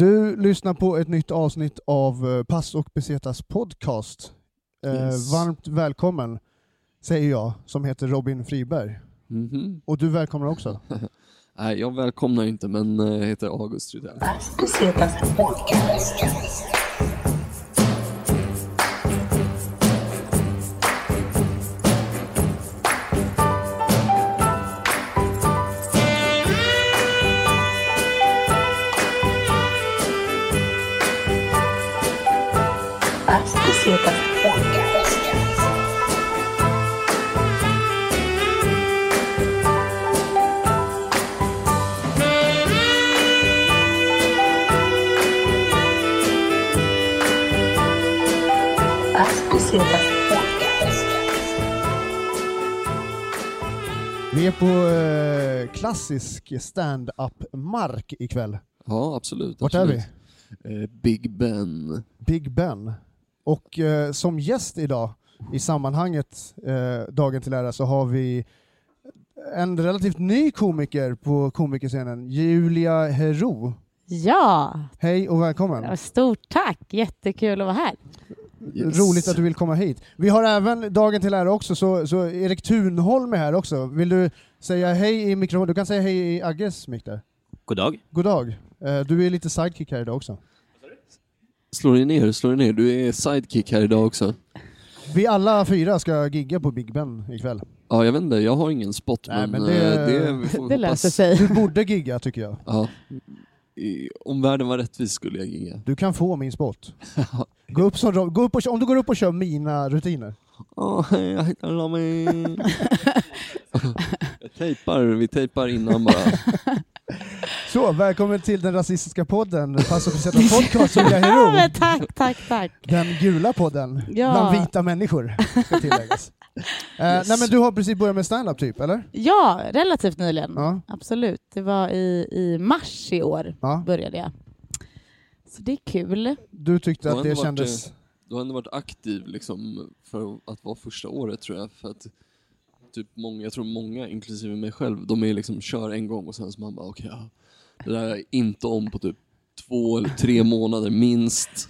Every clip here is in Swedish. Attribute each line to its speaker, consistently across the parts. Speaker 1: Du lyssnar på ett nytt avsnitt av eh, Pass och Besetas podcast. Eh,
Speaker 2: Yes.
Speaker 1: Varmt välkommen, säger jag, som heter Robin Friberg.
Speaker 2: Mhm.
Speaker 1: Och du välkomnar också.
Speaker 2: Nej, jag välkomnar inte, men eh, heter August Rydell.
Speaker 1: Vi är på eh, klassisk stand-up-mark ikväll.
Speaker 2: Ja, absolut.
Speaker 1: Vart är vi?
Speaker 2: absolut. Eh, Big Ben.
Speaker 1: Big Ben. Och eh, som gäst idag i sammanhanget eh, Dagen till ära så har vi en relativt ny komiker på komikerscenen, Julia Hero.
Speaker 3: Ja,
Speaker 1: Hej och välkommen.
Speaker 3: ja, stort tack. Jättekul att vara här.
Speaker 2: Yes.
Speaker 1: Roligt att du vill komma hit. Vi har även Dagen till ära också, så, så Erik Thunholm är här också. Vill du säga hej i mikrofonen? Du kan säga hej i Agges mick där.
Speaker 4: God dag.
Speaker 1: God dag. Eh, Du är lite sidekick här idag också.
Speaker 2: Slå dig ner, slå dig ner. Du är sidekick här idag också.
Speaker 1: Vi alla fyra ska gigga på Big Ben ikväll.
Speaker 2: Ja, jag vet inte. Jag har ingen spot,
Speaker 1: Nej,
Speaker 2: men,
Speaker 1: men
Speaker 2: eh,
Speaker 1: det-
Speaker 2: det, vi får
Speaker 3: Det
Speaker 2: hoppas-
Speaker 3: löser sig.
Speaker 1: Du borde gigga tycker jag.
Speaker 2: Ja. I- Om världen var rättvis skulle jag gigga.
Speaker 1: Du kan få min spot. Gå upp som, Rob- gå upp och, kö- om du går upp och kör mina rutiner.
Speaker 2: Åh, hej, jag heter Lami. jag tejpar, vi tejpar innan bara.
Speaker 1: Så, välkommen till den rasistiska podden, Pass och besätta podcast, Julia
Speaker 3: Ja,
Speaker 1: Hero.
Speaker 3: men tack, tack, tack.
Speaker 1: Den gula podden,
Speaker 3: Ja.
Speaker 1: bland vita människor, ska tilläggas. Eh,
Speaker 2: Yes.
Speaker 1: Nej men du har precis börjat med stand-up typ, eller?
Speaker 3: Ja, relativt nyligen.
Speaker 1: Ja.
Speaker 3: Absolut. Det var i, i mars i år
Speaker 1: ja.
Speaker 3: började jag. Så det är kul.
Speaker 1: Du tyckte
Speaker 2: Jag har
Speaker 1: att det
Speaker 2: ändå varit, eh,
Speaker 1: kändes...
Speaker 2: Du har ändå varit aktiv liksom, för att vara första året tror jag. För att, typ många, jag tror många, inklusive mig själv, de är liksom kör en gång och sen så man bara okej, ja, det där är inte om på typ två eller tre månader minst.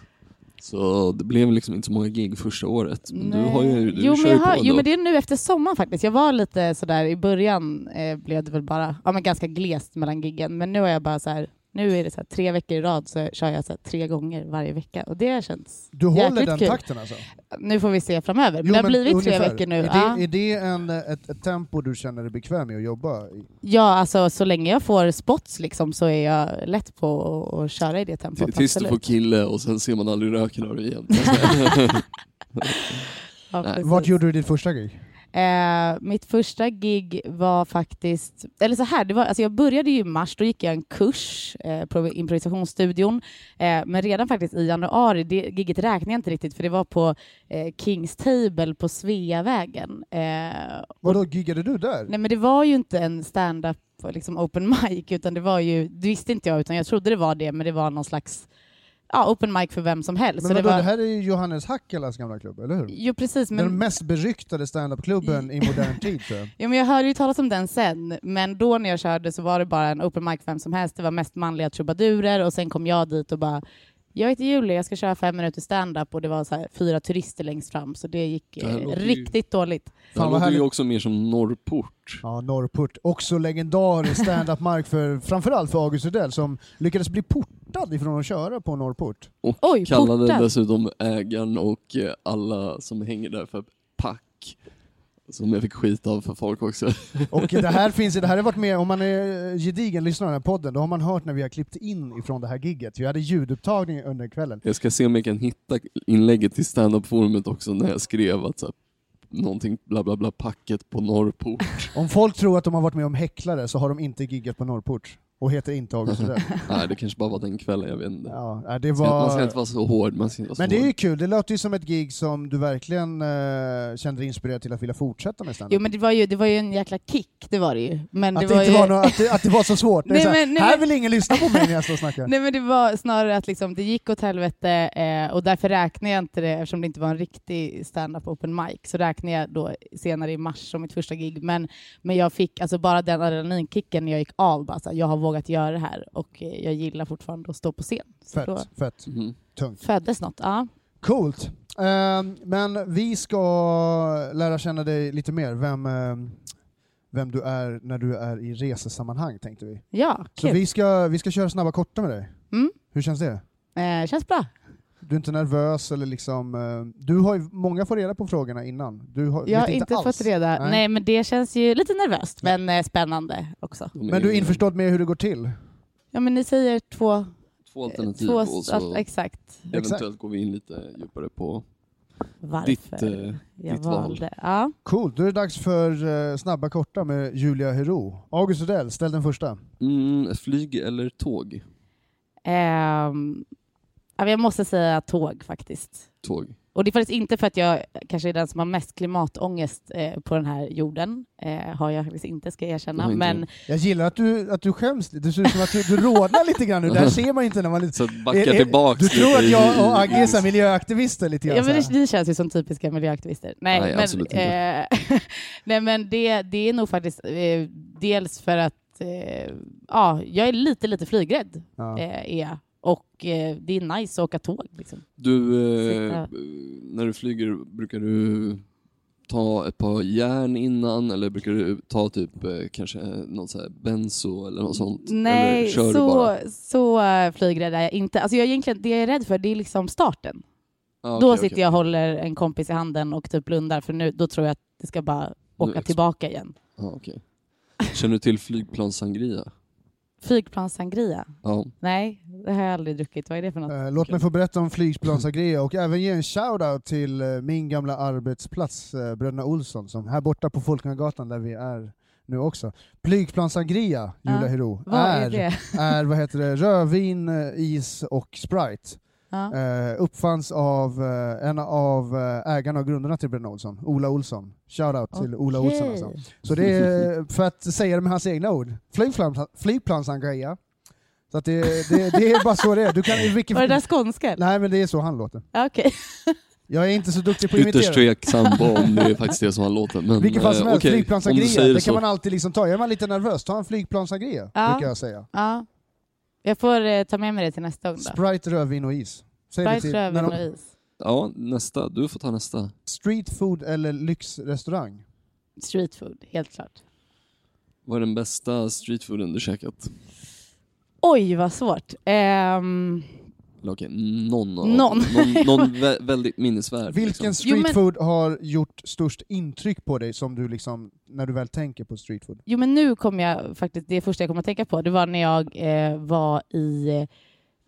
Speaker 2: Så det blev liksom inte så många gig första året. Men du har ju, du
Speaker 3: jo,
Speaker 2: kör
Speaker 3: men
Speaker 2: ju
Speaker 3: jag
Speaker 2: på
Speaker 3: har,
Speaker 2: ändå.
Speaker 3: jo, men det är nu efter sommaren faktiskt. Jag var lite sådär, i början eh, blev det väl bara ja, men ganska glest mellan giggen, men nu har jag bara så här nu är det så här, tre veckor i rad så kör jag så här, tre gånger varje vecka och det känns...
Speaker 1: Du håller
Speaker 3: jäkligt
Speaker 1: den
Speaker 3: kul.
Speaker 1: takten alltså?
Speaker 3: Nu får vi se framöver, men det har blivit tre veckor nu.
Speaker 1: Är det,
Speaker 3: Ja.
Speaker 1: är det en, ett, ett tempo du känner dig bekväm med att jobba i?
Speaker 3: Ja, alltså så länge jag får spots liksom, så är jag lätt på att- att köra i det tempot.
Speaker 2: T- Tills du
Speaker 3: absolut.
Speaker 2: får kille och sen ser man aldrig röken av det igen.
Speaker 3: Ja,
Speaker 2: Nej.
Speaker 3: precis.
Speaker 1: Vart gjorde du ditt första gig?
Speaker 3: eh, mitt första gig var faktiskt, eller så här, det var, alltså jag började ju i mars, då gick jag en kurs eh, på improvisationsstudion, eh, men redan faktiskt i januari, det giget räknade jag inte riktigt för det var på eh, Kings Table på Sveavägen. Eh,
Speaker 1: Vadå, giggade du där?
Speaker 3: Nej men det var ju inte en stand-up liksom open mic utan det var ju, det visste inte jag utan jag trodde det var det men det var någon slags ja, open mic för vem som helst.
Speaker 1: Men
Speaker 3: så
Speaker 1: vadå,
Speaker 3: det
Speaker 1: det,
Speaker 3: var,
Speaker 1: här är ju Johannes Hackelas gamla klubb, eller hur?
Speaker 3: Jo precis
Speaker 1: Den
Speaker 3: men,
Speaker 1: mest beryktade standupklubben i modern tid tror jag.
Speaker 3: ja, men jag hörde ju talas om den sen men då när jag körde så var det bara en open mic för vem som helst. Det var mest manliga trubadurer och sen kom jag dit och bara jag heter Julia, jag ska köra fem minuter stand-up och det var så här, fyra turister längst fram så det gick
Speaker 2: Det här
Speaker 3: eh,
Speaker 2: låter ju-
Speaker 3: riktigt dåligt.
Speaker 2: Det här
Speaker 1: vad
Speaker 2: låter ju
Speaker 1: härligt.
Speaker 2: också mer som Norrport.
Speaker 1: Ja, Norrport. Också legendarisk stand-up-mark för framförallt för August Rydell som lyckades bli portad ifrån att köra på Norrport.
Speaker 2: Och
Speaker 3: Oj,
Speaker 2: kallade
Speaker 3: portad.
Speaker 2: dessutom ägaren och eh, alla som hänger där för pack. Som jag fick skit av för folk också.
Speaker 1: Och det här finns, det här har varit med, om man är gedigen lyssnare av den här podden, då har man hört när vi har klippt in ifrån det här gigget. Vi hade ljudupptagning under kvällen.
Speaker 2: Jag ska se om jag kan hitta inlägget i standup-forumet också när jag skrev att så här, någonting bla bla bla packet på Norrport.
Speaker 1: Om folk tror att de har varit med om häcklare så har de inte giggat på Norrport och heter inte August Rydell.
Speaker 2: Nej, det kanske bara var den kvällen, jag vet inte.
Speaker 1: Ja, nej, det
Speaker 2: Ska- Man ska
Speaker 1: var...
Speaker 2: inte vara så hård. Man ska inte vara så
Speaker 1: Men det är
Speaker 2: hård.
Speaker 1: ju kul, det låter ju som ett gig som du verkligen eh, kände dig inspirerad till att vilja fortsätta med stand-up.
Speaker 3: Jo men det var ju, det var ju en jäkla kick, det var det ju. Men
Speaker 1: Att
Speaker 3: det
Speaker 1: det,
Speaker 3: var
Speaker 1: inte
Speaker 3: ju...
Speaker 1: var nå- att, det, att det var så svårt. Det är
Speaker 3: Nej,
Speaker 1: så här,
Speaker 3: men- nej,
Speaker 1: här
Speaker 3: men-
Speaker 1: vill ingen lyssna på mig när jag står och snackar.
Speaker 3: Nej men det var snarare att liksom, det gick åt helvete eh, och därför räknade jag inte det, eftersom det inte var en riktig stand-up open mic, så räknade jag då senare i mars som mitt första gig. Men, men jag fick alltså bara den adrenalinkicken när jag gick av, bara, så här, jag har vågat göra det här och eh, jag gillar fortfarande att stå på scen. Så då
Speaker 1: Fett, fett,
Speaker 2: Mhm.
Speaker 1: tungt.
Speaker 3: föddes något. Ja.
Speaker 1: Coolt. Ehm, men vi ska lära känna dig lite mer, vem, ehm, vem du är när du är i resesammanhang tänkte vi.
Speaker 3: Ja,
Speaker 1: Så
Speaker 3: kul.
Speaker 1: vi ska, vi ska köra snabba korta med dig.
Speaker 3: Mm.
Speaker 1: Hur känns det?
Speaker 3: Eh, känns bra.
Speaker 1: Du är inte nervös eller liksom... eh, Du har ju, många får reda på frågorna innan. Du har,
Speaker 3: Jag har
Speaker 1: vet
Speaker 3: inte
Speaker 1: alls.
Speaker 3: fått reda.
Speaker 1: Nej.
Speaker 3: Nej. men det känns ju lite nervöst, men eh, spännande också.
Speaker 2: De
Speaker 1: Men du är
Speaker 2: ju
Speaker 1: införstådd med hur det går till?
Speaker 3: Ja, men ni säger två...
Speaker 2: Två
Speaker 3: eh,
Speaker 2: alternativ
Speaker 3: två
Speaker 2: och så
Speaker 3: al- exakt
Speaker 2: eventuellt går vi in lite djupare på
Speaker 3: varför
Speaker 2: ditt... eh,
Speaker 3: jag
Speaker 2: ditt val.
Speaker 3: valde. Ja.
Speaker 1: Coolt, då är det dags för eh, snabba korta med Julia Hero. August Odell, ställ den första.
Speaker 2: Mm, flyg eller tåg?
Speaker 3: Ehm, ja, men jag måste säga tåg faktiskt.
Speaker 2: Tåg.
Speaker 3: Och det är faktiskt inte för att jag kanske är den som har mest klimatångest eh, på den här jorden. Eh, har jag faktiskt inte, ska jag erkänna.
Speaker 2: Nej, inte.
Speaker 3: Men
Speaker 1: Jag gillar att du, att du skäms lite, det ser ut som att du, du rodnar lite grann nu. Det här ser man inte när man... är lite-
Speaker 2: Så att backa
Speaker 1: Är- är-
Speaker 2: tillbaks
Speaker 1: Eh, Du tror
Speaker 2: lite
Speaker 1: att
Speaker 2: i-
Speaker 1: jag och Agge
Speaker 2: i-
Speaker 1: är så här miljöaktivister lite grann?
Speaker 3: Ja,
Speaker 1: så
Speaker 3: men
Speaker 1: här.
Speaker 3: det, ni känns ju som typiska miljöaktivister. Nej,
Speaker 2: Nej,
Speaker 3: men,
Speaker 2: absolut inte.
Speaker 3: eh, nej, men det, det är nog faktiskt eh, dels för att eh, ja, jag är lite, lite flygrädd.
Speaker 1: Ja.
Speaker 3: Eh, är jag. Och eh, det är nice att åka tåg. Liksom.
Speaker 2: Du, eh,
Speaker 3: Sitta.
Speaker 2: b- när du flyger, brukar du ta ett par järn innan eller brukar du ta typ eh, kanske någon så här benzo eller något sånt? eller
Speaker 3: Nej,
Speaker 2: kör du
Speaker 3: så,
Speaker 2: bara?
Speaker 3: så eh, flygrädd är jag inte. Alltså, jag är egentligen, det jag är rädd för det är liksom starten.
Speaker 2: Ah,
Speaker 3: då
Speaker 2: okej,
Speaker 3: sitter
Speaker 2: okej.
Speaker 3: jag och håller en kompis i handen och typ blundar för nu, då tror jag att det ska bara åka
Speaker 2: ex-
Speaker 3: tillbaka igen.
Speaker 2: Ah, okej. Känner du till flygplanssangria?
Speaker 3: Flygplanssangria?
Speaker 2: Ja.
Speaker 3: Nej, det har jag aldrig druckit. Vad är det för något?
Speaker 1: Eh, Låt mig få berätta om flygplansagrea och även ge en shout-out till eh, min gamla arbetsplats, eh, Bröderna Olsson, som här borta på Folkungagatan där vi är nu också. Flygplansagrea, Julia
Speaker 3: Ja.
Speaker 1: Hero,
Speaker 3: Vad är
Speaker 1: är,
Speaker 3: det?
Speaker 1: är vad heter det, rödvin, eh, is och Sprite.
Speaker 3: Ja.
Speaker 1: Eh, uppfanns av eh, en av eh, ägarna och grundarna till Bröderna Olsson, Ola Olsson. Shout-out till Ola Olsson alltså.
Speaker 3: Okej.
Speaker 1: Så det är, eh, för att säga det med hans egna ord, flygplan, flygplansangrea. Så att det, det, det är bara så det är. Du kan, i vilken,
Speaker 3: Var det där skånskan?
Speaker 1: Nej, men det är så han låter.
Speaker 3: Ja, Okej.
Speaker 1: Jag är inte så duktig på att
Speaker 2: Ytterst
Speaker 1: imitera.
Speaker 2: tveksam på om det är faktiskt det som han låter. Men,
Speaker 1: Vilken fall som
Speaker 2: eh,
Speaker 1: helst,
Speaker 2: okej, om du
Speaker 1: flygplansagria.
Speaker 2: säger
Speaker 1: Det,
Speaker 2: det
Speaker 1: kan
Speaker 2: så.
Speaker 1: man alltid liksom ta. Är man lite nervös, ta en flygplansagria,
Speaker 3: Ja.
Speaker 1: brukar jag säga.
Speaker 3: Ja. Jag får eh, ta med mig det till nästa gång då.
Speaker 1: Sprite, rödvin och is. Säg det
Speaker 3: Sprite,
Speaker 1: till- när
Speaker 3: rödvin
Speaker 1: de-
Speaker 3: och is.
Speaker 2: Ja, nästa. Du får ta nästa.
Speaker 1: Street food eller lyxrestaurang?
Speaker 3: Street food, helt klart.
Speaker 2: Vad är den bästa streetfooden du käkat?
Speaker 3: Oj, vad svårt. Ehm,
Speaker 2: Eller okej, någon av
Speaker 3: Någon.
Speaker 2: någon, någon vä- väldigt minnesvärd.
Speaker 1: Vilken
Speaker 2: liksom.
Speaker 1: street
Speaker 3: Jo, men-
Speaker 1: food har gjort störst intryck på dig som du liksom, när du väl tänker på street food?
Speaker 3: jo, men nu kom jag faktiskt, det första jag kom att tänka på, det var när jag eh, var i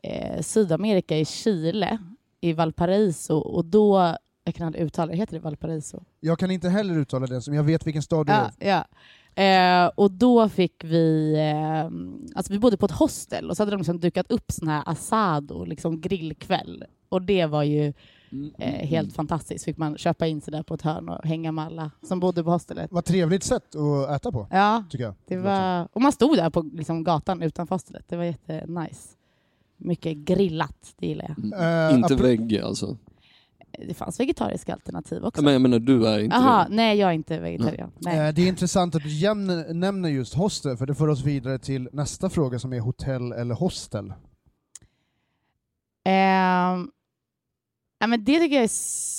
Speaker 3: eh, Sydamerika, i Chile, i Valparaiso, och då, jag kan aldrig uttala det, heter det Valparaiso?
Speaker 1: Jag kan inte heller uttala den som jag vet vilken stad du
Speaker 3: Ja,
Speaker 1: är.
Speaker 3: ja. Eh, och då fick vi... Eh, alltså vi bodde på ett hostel och så hade de liksom dukat upp sån här asado, liksom grillkväll. Och det var ju
Speaker 2: Mm,
Speaker 3: eh,
Speaker 2: mm,
Speaker 3: helt fantastiskt. Fick man köpa in sig där på ett hörn och hänga med alla som bodde på hostelet.
Speaker 1: Vad trevligt sätt att äta på,
Speaker 3: Ja,
Speaker 1: tycker jag.
Speaker 3: det var... Och man stod där på liksom, gatan utanför hostelet. Det var jättenice. Mycket grillat, det gillar jag.
Speaker 2: mm.
Speaker 1: Eh,
Speaker 2: inte
Speaker 1: apro-
Speaker 2: vägg alltså.
Speaker 3: Det fanns vegetariska alternativ också.
Speaker 2: Nej, Men jag menar, du är inte
Speaker 3: Jaha,
Speaker 2: det. Mm.
Speaker 3: nej jag är inte vegetarian. Nej.
Speaker 1: Eh, Det är intressant att du jämn- nämner just hostel, för det för oss vidare till nästa fråga som är hotell eller hostel.
Speaker 3: Ehm, ja, men det tycker jag är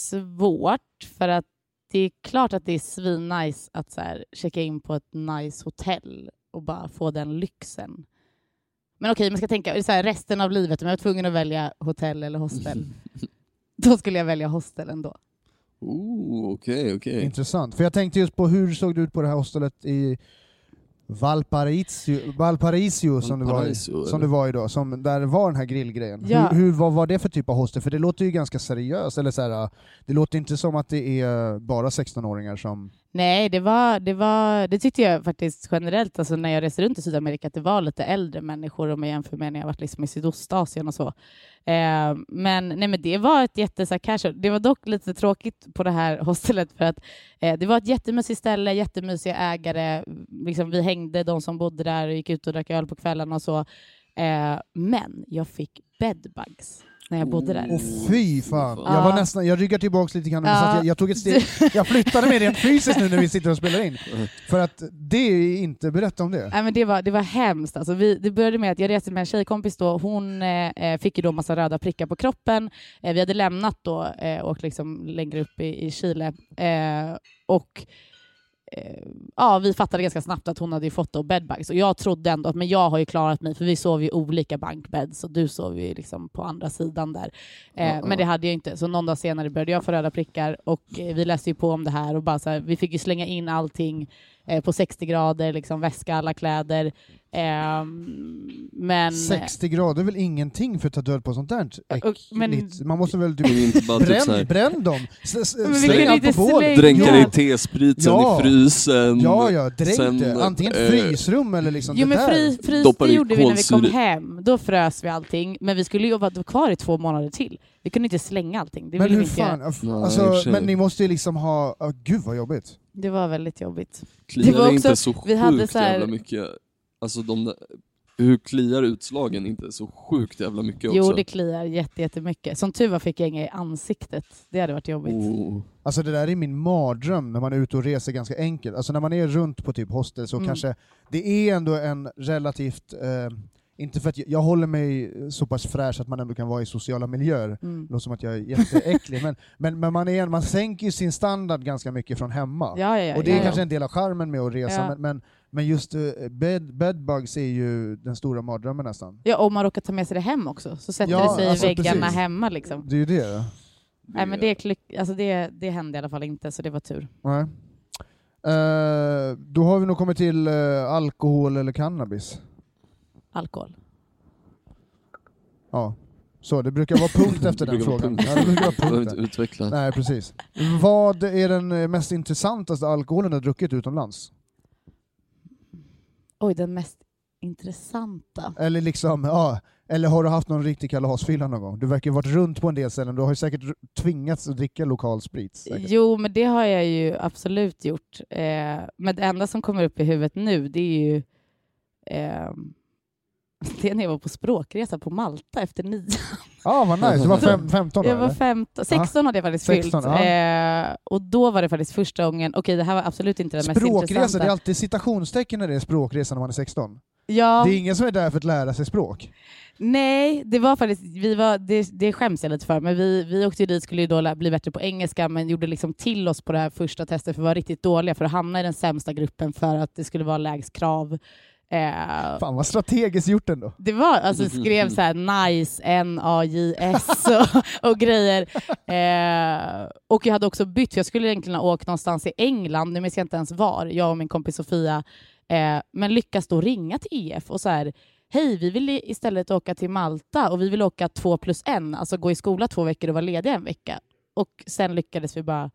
Speaker 3: svårt för att det är klart att det är svinnice att så här, checka in på ett nice hotell och bara få den lyxen. Men okej, man ska tänka så här, resten av livet om jag var tvungen att välja hotell eller hostel. då skulle jag välja hostel ändå.
Speaker 2: Oh, okej, okej.
Speaker 1: Intressant. För jag tänkte just på hur såg det ut på det här hostelet i Valparaiso, Valparaiso som, du var i,
Speaker 2: Valparaiso,
Speaker 1: som
Speaker 2: eller?
Speaker 1: du var i då, som, där det var den här grillgrejen.
Speaker 3: Ja.
Speaker 1: Hur, hur, vad var det för typ av hostel? För det låter ju ganska seriöst, eller så här, det låter inte som att det är bara 16-åringar som...
Speaker 3: Nej, det, var, det, var, det tyckte jag faktiskt generellt alltså när jag reser runt i Sydamerika att det var lite äldre människor om jag jämför med när jag varit liksom i Sydostasien och så. Eh, men, nej, men det var ett jätte så här, casual. Det var dock lite tråkigt på det här hostelet för att eh, det var ett jättemysigt ställe, jättemysiga ägare. Liksom, vi hängde, de som bodde där, och gick ut och drack öl på kvällarna och så. Eh, men jag fick bedbugs. när jag bodde där.
Speaker 1: Och fy fan, jag,
Speaker 3: Ja.
Speaker 1: var nästan, jag ryggar tillbaks lite grann,
Speaker 3: Ja.
Speaker 1: så att jag, jag tog ett steg, jag flyttade mig rent fysiskt nu när vi sitter och spelar in. För att det är inte, berätta om det.
Speaker 3: Nej, men det, var, det var hemskt. Alltså vi, det började med att jag reste med en tjejkompis. Då. Hon eh, eh, fick ju då massa röda prickar på kroppen. Eh, vi hade lämnat då eh, och liksom längre upp i, i Chile. Eh, och eh, ja, vi fattade ganska snabbt att hon hade ju fått då bedbugs. Och jag trodde ändå att men jag har ju klarat mig, för vi sov ju i olika bankbädds och du sov ju liksom på andra sidan där. Eh,
Speaker 2: Ja, ja.
Speaker 3: Men det hade jag inte. Så någon dag senare började jag få röda prickar och eh, vi läste ju på om det här och bara så här, vi fick ju slänga in allting eh, på 60 grader, liksom väska, alla kläder. Ehm, men,
Speaker 1: 60 grader är väl ingenting för att ta död på sånt där
Speaker 3: och- men-
Speaker 1: äckligt. Man måste väl
Speaker 2: Men
Speaker 1: typ,
Speaker 2: inte bara typ
Speaker 1: bränn,
Speaker 2: såhär,
Speaker 1: bränn dem! S- s-
Speaker 3: Men vi
Speaker 1: Släng
Speaker 2: kunde
Speaker 1: allt på
Speaker 3: inte
Speaker 1: bålet!
Speaker 3: slänga-
Speaker 2: dränka
Speaker 3: Ja.
Speaker 2: det i tesprit, sen
Speaker 1: Ja.
Speaker 2: i frysen.
Speaker 1: Ja, ja,
Speaker 2: Sen,
Speaker 1: dränk det. Antingen
Speaker 2: eh,
Speaker 1: frysrum eller liksom
Speaker 3: Jo
Speaker 1: det
Speaker 3: men
Speaker 1: där.
Speaker 3: fry, frys
Speaker 2: Doppar
Speaker 3: det
Speaker 2: i
Speaker 3: gjorde vi när vi kom
Speaker 2: kolsyra.
Speaker 3: hem. Då frös vi allting. Men vi skulle ju vara kvar i två månader till. Vi kunde inte slänga allting. Det
Speaker 1: men
Speaker 3: ville vi
Speaker 1: hur
Speaker 3: inte
Speaker 1: fan,
Speaker 3: göra.
Speaker 1: aff-
Speaker 2: Nej, i och för
Speaker 1: alltså,
Speaker 2: sig.
Speaker 1: men ni måste ju liksom ha, oh, gud vad jobbigt.
Speaker 3: Det var väldigt jobbigt.
Speaker 2: Kliar
Speaker 3: Det var
Speaker 2: det inte
Speaker 3: också-
Speaker 2: så
Speaker 3: vi
Speaker 2: sjukt
Speaker 3: hade så här-
Speaker 2: jävla mycket? Alltså de där, hur kliar utslagen inte så sjukt jävla mycket
Speaker 3: Jo
Speaker 2: också?
Speaker 3: det kliar jätte- jättemycket. Som tur var fick jag inga i ansiktet. Det hade varit jobbigt.
Speaker 2: oh.
Speaker 1: Alltså det där är min mardröm när man är ute och reser ganska enkelt. Alltså när man är runt på typ hostel så
Speaker 3: Mm.
Speaker 1: kanske det är ändå en relativt, eh, inte för att jag, jag håller mig så pass fräsch att man ändå kan vara i sociala miljöer.
Speaker 3: Mm.
Speaker 1: Det låter som att jag är jätteäcklig, men, men, men man, är, man sänker ju sin standard ganska mycket från hemma.
Speaker 3: Ja, ja, ja,
Speaker 1: och det är
Speaker 3: ja,
Speaker 1: kanske en del av charmen med att resa,
Speaker 3: Ja.
Speaker 1: men, men, men just eh, bed, bedbugs är ju den stora mardrömmen nästan.
Speaker 3: ja. ja, om man råkar ta med sig det hem också. Så sätter
Speaker 1: Ja,
Speaker 3: det sig
Speaker 1: alltså,
Speaker 3: i väggarna
Speaker 1: precis.
Speaker 3: hemma liksom.
Speaker 1: Det är ju det.
Speaker 3: Nej, men det, klick, alltså det, det hände i alla fall inte, så det var tur.
Speaker 1: Nej. Eh, då har vi nog kommit till eh, alkohol eller cannabis.
Speaker 3: Alkohol.
Speaker 1: Ja. Så, det brukar vara punkt efter
Speaker 2: Det
Speaker 1: den
Speaker 2: brukar vara
Speaker 1: frågan.
Speaker 2: punkt.
Speaker 1: Ja, det brukar vara
Speaker 2: Jag behöver
Speaker 1: punkt
Speaker 2: inte
Speaker 1: där.
Speaker 2: utveckla.
Speaker 1: Nej, precis. Vad är den eh, mest intressantaste alkoholen du har druckit utomlands?
Speaker 3: Oj, den mest intressanta.
Speaker 1: Eller liksom, ja, eller har du haft någon riktig kalasfylla någon gång? Du verkar ju varit runt på en del ställen, du har ju säkert r- tvingats att dricka lokal sprit. Säkert.
Speaker 3: Jo, men det har jag ju absolut gjort. Eh, men det enda som kommer upp i huvudet nu, det är ju... Eh, det är när jag var på språkresa på Malta efter nio.
Speaker 1: Ja, vad nice. Du var fem, 15 då,
Speaker 3: Jag var
Speaker 1: eller?
Speaker 3: 15, 16 hade jag faktiskt
Speaker 1: 16,
Speaker 3: fyllt.
Speaker 1: ja.
Speaker 3: Eh, och då var det faktiskt första gången... Okej, det här var absolut inte den mest
Speaker 1: Språkresa,
Speaker 3: intressanta.
Speaker 1: det är alltid citationstecken när det är språkresa när man är 16.
Speaker 3: ja.
Speaker 1: Det är ingen som är där för att lära sig språk.
Speaker 3: Nej, det var faktiskt, vi var, det, det skäms jag lite för, men vi, vi åkte ju dit skulle ju då lä- bli bättre på engelska, men gjorde liksom till oss på det här första testet för att vara riktigt dåliga för att hamna i den sämsta gruppen för att det skulle vara lägst krav. Eh,
Speaker 1: Fan vad strategiskt gjort ändå.
Speaker 3: det var, alltså skrev så här nice, N-A-J-S och, och grejer. Eh, och jag hade också bytt, för jag skulle egentligen ha åkt någonstans i England, nu minns jag inte ens var, jag och min kompis Sofia, eh, men lyckas då ringa till EF och så här, hej, vi vill i- istället åka till Malta och vi vill åka två plus en, alltså gå i skola två veckor och vara lediga en vecka. Och sen lyckades vi bara,